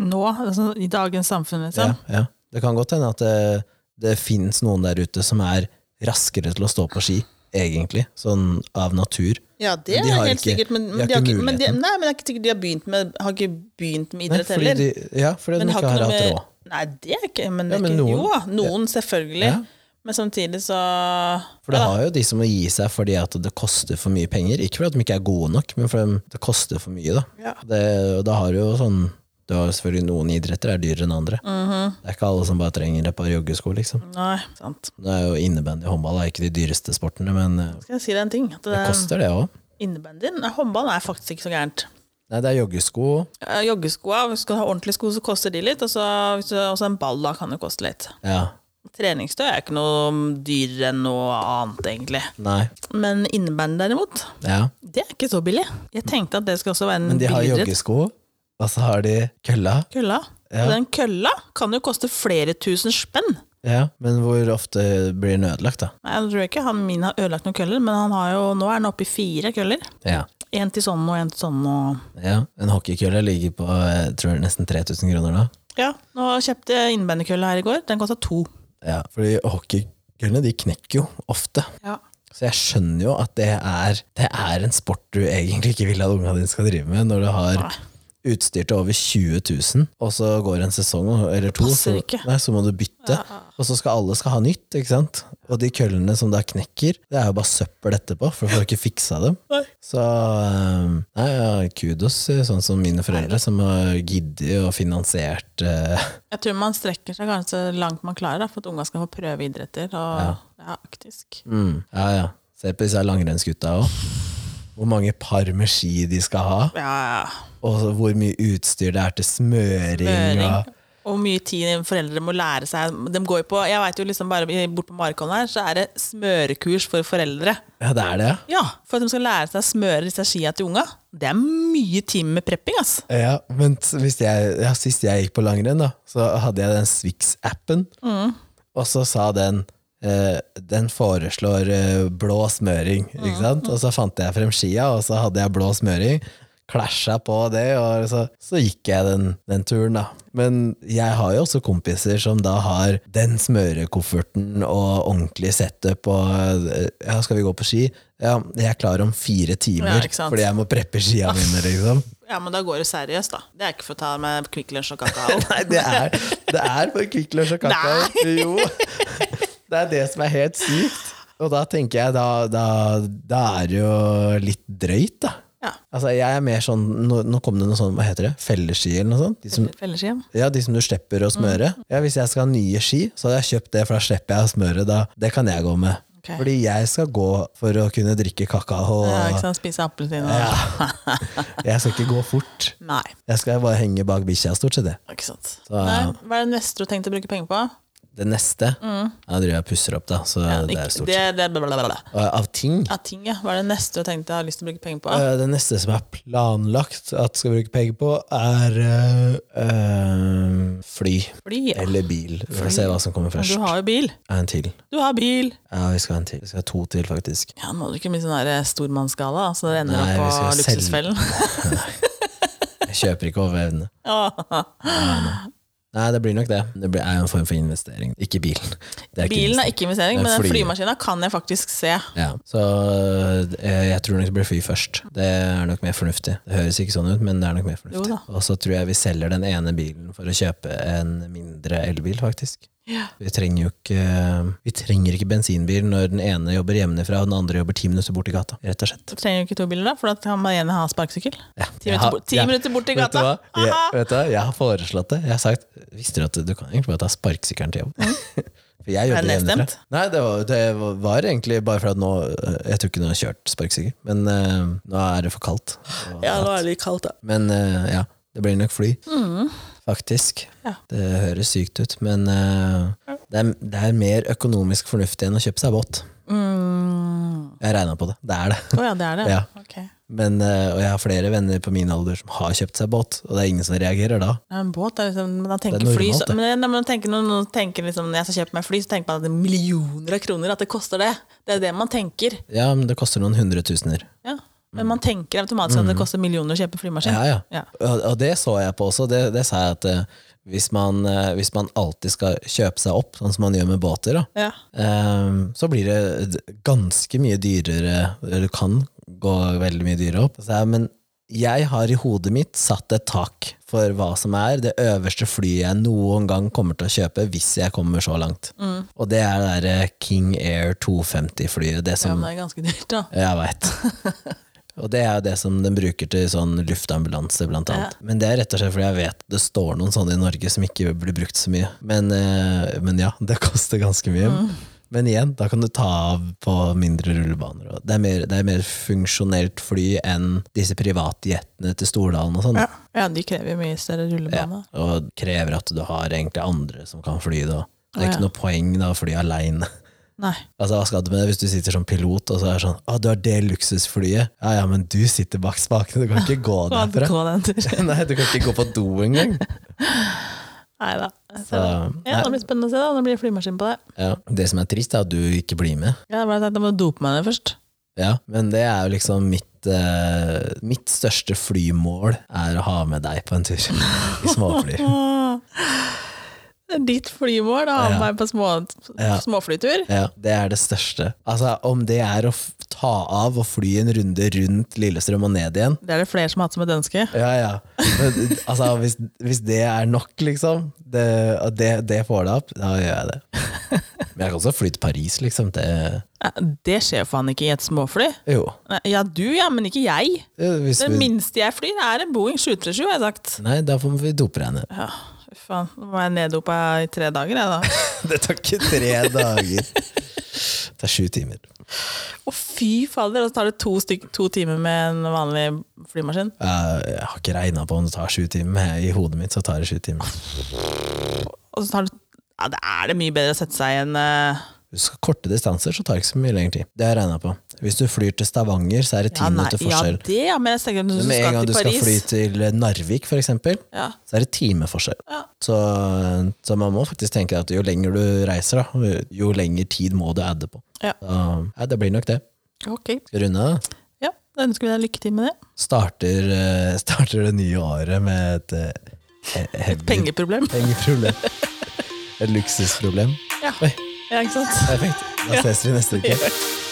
Speaker 2: Nå, altså, i dagens samfunn, liksom.
Speaker 1: Ja, ja. Det kan godt hende at det, det finnes noen der ute som er raskere til å stå på ski, egentlig, sånn av natur.
Speaker 3: Ja, det
Speaker 1: Men de
Speaker 3: er
Speaker 1: har
Speaker 3: helt
Speaker 1: ikke-
Speaker 3: sikkert, men,
Speaker 1: de har
Speaker 3: men de har
Speaker 1: ikke
Speaker 3: ikke, men, de,
Speaker 1: muligheten.
Speaker 3: nei, men det er ikke sikkert de har begynt med, har ikke begynt med idrett
Speaker 1: fordi
Speaker 3: heller.
Speaker 1: de, ja, fordi
Speaker 3: men
Speaker 1: de ikke har hatt råd.
Speaker 3: Nei, det er ikke Men, det
Speaker 1: Ja,
Speaker 3: er
Speaker 1: men
Speaker 3: ikke,
Speaker 1: noen-
Speaker 3: jo da, noen, selvfølgelig.
Speaker 1: Ja.
Speaker 3: Men samtidig så
Speaker 1: For det
Speaker 3: ja, da.
Speaker 1: har jo de som må gi seg fordi at det koster for mye penger. Ikke fordi at de ikke er gode nok, men fordi det koster for mye. Da,
Speaker 3: Ja.
Speaker 1: det, og da har du jo sånn du har jo selvfølgelig Noen idretter er dyrere enn andre.
Speaker 3: Mhm.
Speaker 1: Det er ikke alle som bare trenger et par joggesko. liksom.
Speaker 2: Nei, sant.
Speaker 1: Det er jo Innebandy og håndball er ikke de dyreste sportene, men eh,
Speaker 2: Skal jeg si deg en ting? At
Speaker 1: det
Speaker 2: det,
Speaker 1: koster det òg.
Speaker 2: innebandyen, nei, håndballen er faktisk ikke så gærent.
Speaker 1: Nei, det er joggesko.
Speaker 2: Eh, Joggeskoa, hvis du skal ha ordentlige sko, så koster de litt. Og så hvis du, også en ball da kan jo koste litt.
Speaker 1: Ja.
Speaker 2: Treningstøy er ikke noe dyrere enn noe annet, egentlig.
Speaker 1: Nei.
Speaker 2: Men innebandy derimot,
Speaker 1: Ja.
Speaker 2: det er ikke så billig. Jeg tenkte at det skal også være en
Speaker 1: Men de har
Speaker 2: billigere
Speaker 1: joggesko, og så har de kølla.
Speaker 2: kølla.
Speaker 1: Ja.
Speaker 2: Og den kølla kan jo koste flere tusen spenn.
Speaker 1: Ja, men hvor ofte blir den ødelagt, da?
Speaker 2: Nei, Jeg tror ikke han min har ødelagt noen køller, men han har jo, nå er han oppe i fire køller.
Speaker 1: Ja.
Speaker 2: Én til sånn og én til sånn og
Speaker 1: ja. En hockeykølle ligger på jeg tror det er nesten 3000 kroner nå.
Speaker 2: Ja, nå kjøpte jeg innebandykølle her i går. Den kosta to.
Speaker 1: Ja, fordi hockeykøllene de knekker jo ofte.
Speaker 2: Ja.
Speaker 1: Så jeg skjønner jo at det er, det er en sport du egentlig ikke vil at unga dine skal drive med, når du har utstyr til over 20 000, og så går en sesong og- eller to,
Speaker 2: passer
Speaker 1: så,
Speaker 2: ikke.
Speaker 1: nei, så må du bytte. Og så skal alle skal ha nytt, ikke sant? Og de køllene som da knekker, det er jo bare søppel etterpå, for du får ikke fiksa dem.
Speaker 2: Nei.
Speaker 1: Så øhm, nei, ja, kudos, sånn som mine foreldre, som har giddet og finansiert eh,
Speaker 2: Jeg tror man strekker seg kanskje langt man klarer, da, for at unga skal få prøve idretter. Og, ja. faktisk.
Speaker 1: Mm. Ja, ja. Se på disse langrennsgutta òg. Hvor mange par med ski de skal ha,
Speaker 2: Ja, ja.
Speaker 1: og så hvor mye utstyr det er til smøring.
Speaker 2: Øring.
Speaker 1: Og,
Speaker 2: Og hvor mye tid foreldre må lære seg. De går jo på, jeg vet jo liksom bare i- Bort på Markholm her så er det smørekurs for foreldre.
Speaker 1: ja, det er det,
Speaker 2: Ja, For at de skal lære seg å smøre disse skia til unga. Det er mye time med prepping. ass.
Speaker 1: ja. ja. Men s- hvis jeg, ja, sist jeg gikk på langrenn, da, så hadde jeg den Swix-appen,
Speaker 2: Mm.
Speaker 1: og så sa den eh, den foreslår eh, blå smøring,
Speaker 2: Mm,
Speaker 1: ikke sant? Og så fant jeg frem skia, og så hadde jeg blå smøring. Klasja på det, og så, så gikk jeg den, den turen, da. Men jeg har jo også kompiser som da har den smørekofferten og ordentlig setup og eh, Ja, skal vi gå på ski? Ja, jeg er klar om fire timer,
Speaker 2: Ja, ikke sant?
Speaker 1: fordi jeg må preppe skia mine, liksom.
Speaker 2: Ja, Men da går det seriøst, da. Det er ikke for å ta med Kvikk Lunsj og kakao.
Speaker 1: Nei, det er, det er for Kvikk Lunsj og kakao. Jo. Det er det som er helt sykt. Og da tenker jeg, da, da, da er det jo litt drøyt, da.
Speaker 2: Ja.
Speaker 1: Altså, jeg er mer sånn, nå, nå kom det noe sånn, hva heter det, felleski eller noe sånt? De som,
Speaker 2: Fellesski.
Speaker 1: ja, de som du slipper å smøre.
Speaker 2: Mm.
Speaker 1: Ja, hvis jeg skal ha nye ski, så hadde jeg kjøpt det, for da slipper jeg å smøre, da. Det kan jeg gå med.
Speaker 2: Ok.
Speaker 1: Fordi jeg skal gå for å kunne drikke kakao.
Speaker 2: Ja, ikke
Speaker 1: Og,
Speaker 2: sant? Spise appelsin og
Speaker 1: Ja. jeg skal ikke gå fort.
Speaker 2: Nei.
Speaker 1: Jeg skal bare henge bak bikkja, stort sett det.
Speaker 2: Ikke sant.
Speaker 1: Så, ja.
Speaker 2: Nei, hva er det neste du har tenkt å bruke penger på?
Speaker 1: Det neste Jeg driver og pusser opp, da. Så det
Speaker 2: Mm. Ikke-
Speaker 1: er stort.
Speaker 2: det, det, blablabla.
Speaker 1: Og Av ting
Speaker 2: Ja, ting, ja. Hva er det neste du tenkte jeg har lyst til å bruke penger på?
Speaker 1: eh, Det neste som er planlagt at skal bruke penger på, er eh, eh, fly.
Speaker 2: Fly, ja.
Speaker 1: Eller bil. Vi får se hva som kommer
Speaker 2: Men
Speaker 1: først.
Speaker 2: Du har jo bil.
Speaker 1: En til.
Speaker 2: Du har bil!
Speaker 1: Ja, vi skal ha en til. Vi skal ha to til, faktisk.
Speaker 2: Ja, nå er det ikke mye sånn der stormannsgala, så dere ender
Speaker 1: Nei, vi
Speaker 2: opp på
Speaker 1: skal selge.
Speaker 2: luksusfellen.
Speaker 1: Jeg kjøper ikke over evne.
Speaker 2: Åh.
Speaker 1: Nei, det blir nok det. Det blir- er jo en form for investering. Ikke bilen. Det er ikke investering.
Speaker 2: Bilen er ikke investering,
Speaker 1: Det er
Speaker 2: men den
Speaker 1: flyet.
Speaker 2: flymaskina kan jeg faktisk se.
Speaker 1: Ja, så eh, jeg tror nok det blir fly først. Det er nok mer fornuftig. Det høres ikke sånn ut, men det er nok mer
Speaker 2: Jo
Speaker 1: fornuftig.
Speaker 2: da.
Speaker 1: Og så tror jeg vi selger den ene bilen for å kjøpe en mindre elbil, faktisk. Vi trenger jo ikke Vi trenger ikke bensinbil når den ene jobber hjemmefra og den andre jobber ti minutter bort i gata. Rett og slett.
Speaker 2: Du trenger jo ikke to biler, da, for da kan man gjerne ha sparkesykkel.
Speaker 1: Ja,
Speaker 2: Ti
Speaker 1: jeg
Speaker 2: minutter
Speaker 1: har-
Speaker 2: bort- ti
Speaker 1: jeg-
Speaker 2: minutter bort i
Speaker 1: vet du
Speaker 2: gata.
Speaker 1: hva? Jeg, vet du hva? Jeg har foreslått det. Jeg har sagt Visste du at du kan egentlig bare ta sparkesykkelen til jobb?
Speaker 2: Mm.
Speaker 1: For jeg jobber
Speaker 3: Er det
Speaker 1: hjemmefra.
Speaker 3: nedstemt?
Speaker 1: Nei, det var, det var- var egentlig bare for at nå øh, Jeg tror ikke noen har kjørt sparkesykkel, men øh, nå er det for kaldt. Og-
Speaker 3: Ja, nå er det litt kaldt, da.
Speaker 1: Men øh, ja, det blir nok fly. Faktisk.
Speaker 2: Mm. Ja.
Speaker 1: Det høres sykt ut, men øh, det, er, det er mer økonomisk fornuftig enn å kjøpe seg båt.
Speaker 2: Mm.
Speaker 1: Jeg regna på det. Det er det.
Speaker 2: Å ja, det er det.
Speaker 1: Ja.
Speaker 2: Ok. Ja,
Speaker 1: Men, øh, og jeg har flere venner på min alder som har kjøpt seg båt, og det er ingen som reagerer da.
Speaker 2: En båt er liksom Men da tenker
Speaker 1: normalt,
Speaker 2: fly så,
Speaker 1: det.
Speaker 2: men, nei, men tenker, når noen tenker liksom Når jeg skal kjøpe meg fly, så tenker man at det er millioner av kroner at det koster det. Det er det man tenker.
Speaker 1: Ja, men det koster noen hundretusener.
Speaker 2: Ja. Men man tenker automatisk at det koster millioner å kjøpe flymaskin.
Speaker 1: Mm. Ja, ja.
Speaker 2: Ja.
Speaker 1: Og, og det så jeg på også. Det, det sa jeg at eh, hvis, man, eh, hvis man alltid skal kjøpe seg opp, sånn som man gjør med båter, da,
Speaker 2: Ja.
Speaker 1: eh, så blir det d- ganske mye dyrere, eller kan gå veldig mye dyrere opp. Så sa jeg, men jeg har i hodet mitt satt et tak for hva som er det øverste flyet jeg noen gang kommer til å kjøpe hvis jeg kommer så langt. Og det er det der eh, King Air 250-flyet, det
Speaker 2: ja,
Speaker 1: som
Speaker 2: men det er ganske dyrt, da.
Speaker 1: jeg veit. Og det er jo det som den bruker til sånn luftambulanse, blant annet. Men det er rett og slett fordi jeg vet det står noen sånne i Norge som ikke blir brukt så mye. Men, eh, men ja, det koster ganske mye.
Speaker 2: Mm.
Speaker 1: Men igjen, da kan du ta av på mindre rullebaner. og Det er mer, det er mer funksjonelt fly enn disse privatjetene til Stordalen og sånn.
Speaker 2: Ja. ja, de krever jo mye større rullebane.
Speaker 1: Og krever at du har egentlig andre som kan fly da. Det
Speaker 2: Å,
Speaker 1: er
Speaker 2: ja.
Speaker 1: ikke noe poeng da å fly aleine.
Speaker 2: Nei.
Speaker 1: Altså, hva skal du med det hvis du sitter som pilot og så er det sånn Å, du har det luksusflyet. Ja, ja, men du sitter bak spakene, du kan ikke gå
Speaker 2: Gå
Speaker 1: derfra.
Speaker 2: den turen.
Speaker 1: Nei, du kan ikke gå på do engang.
Speaker 2: Nei da. Så,
Speaker 1: Så,
Speaker 2: ja, det blir spennende å se. da, Det blir flymaskin på det.
Speaker 1: Ja. Det som er trist, er at du ikke blir med.
Speaker 2: Ja, bare tenkt, Jeg må dope meg ned først.
Speaker 1: Ja, men det er jo liksom mitt eh, Mitt største flymål er å ha med deg på en tur i småfly.
Speaker 2: Det er ditt flymål å ha med
Speaker 1: Ja.
Speaker 2: meg på små,
Speaker 1: Ja.
Speaker 2: småflytur.
Speaker 1: Ja, det er det største. Altså, om det er å f- ta av og fly en runde rundt Lillestrøm og ned igjen,
Speaker 2: Det er det flere som har hatt som et ønske.
Speaker 1: Ja, ja. Men, altså, hvis, hvis det er nok, liksom, det, og det, det får det opp, da gjør jeg det. Men jeg kan også fly til Paris, liksom. Det,
Speaker 2: Ja, Det skjer faen ikke i et småfly.
Speaker 1: jo.
Speaker 2: Nei, Ja, du ja, men ikke jeg.
Speaker 1: Hvis
Speaker 2: Det
Speaker 1: vi,
Speaker 2: minste jeg flyr, er en Boeing 737, har jeg sagt.
Speaker 1: nei, da får vi dopregne.
Speaker 2: Ja, fy faen. Nå må jeg neddopa i tre dager, jeg da.
Speaker 1: Det tar ikke tre dager. Det er sju timer.
Speaker 2: Å, fy fader. Og så tar det to, stykk- to timer med en vanlig flymaskin.
Speaker 1: Jeg, jeg har ikke regna på om det tar sju timer, men i hodet mitt så tar det sju timer.
Speaker 2: Og så tar det Ja, da er det mye bedre å sette seg i en eh,
Speaker 1: Hvis du skal korte distanser, så tar det ikke så mye lengre tid. Det har jeg regna på. Hvis du flyr til Stavanger, så er det ti
Speaker 2: ja, nei,
Speaker 1: minutter forskjell.
Speaker 2: Ja, det, ja, men jeg tenker at
Speaker 1: Men
Speaker 2: du
Speaker 1: med en
Speaker 2: skal
Speaker 1: gang du
Speaker 2: til
Speaker 1: skal
Speaker 2: Paris.
Speaker 1: fly til Narvik, for eksempel,
Speaker 2: Ja.
Speaker 1: så er det timeforskjell.
Speaker 2: Ja.
Speaker 1: Så, så man må faktisk tenke at jo lenger du reiser, da, jo lenger tid må du adde på.
Speaker 2: Ja.
Speaker 1: Så, ja, det blir nok det.
Speaker 2: Ok.
Speaker 1: Skal vi runde av?
Speaker 2: Ja, da ønsker vi deg lykke til med det.
Speaker 1: Starter, eh, starter det nye året med et eh, he- heavy
Speaker 2: Pengeproblem.
Speaker 1: pengeproblem. Et luksusproblem.
Speaker 2: Ja.
Speaker 1: Oi,
Speaker 2: ja, ikke sant?
Speaker 1: perfekt. Da ses vi neste uke.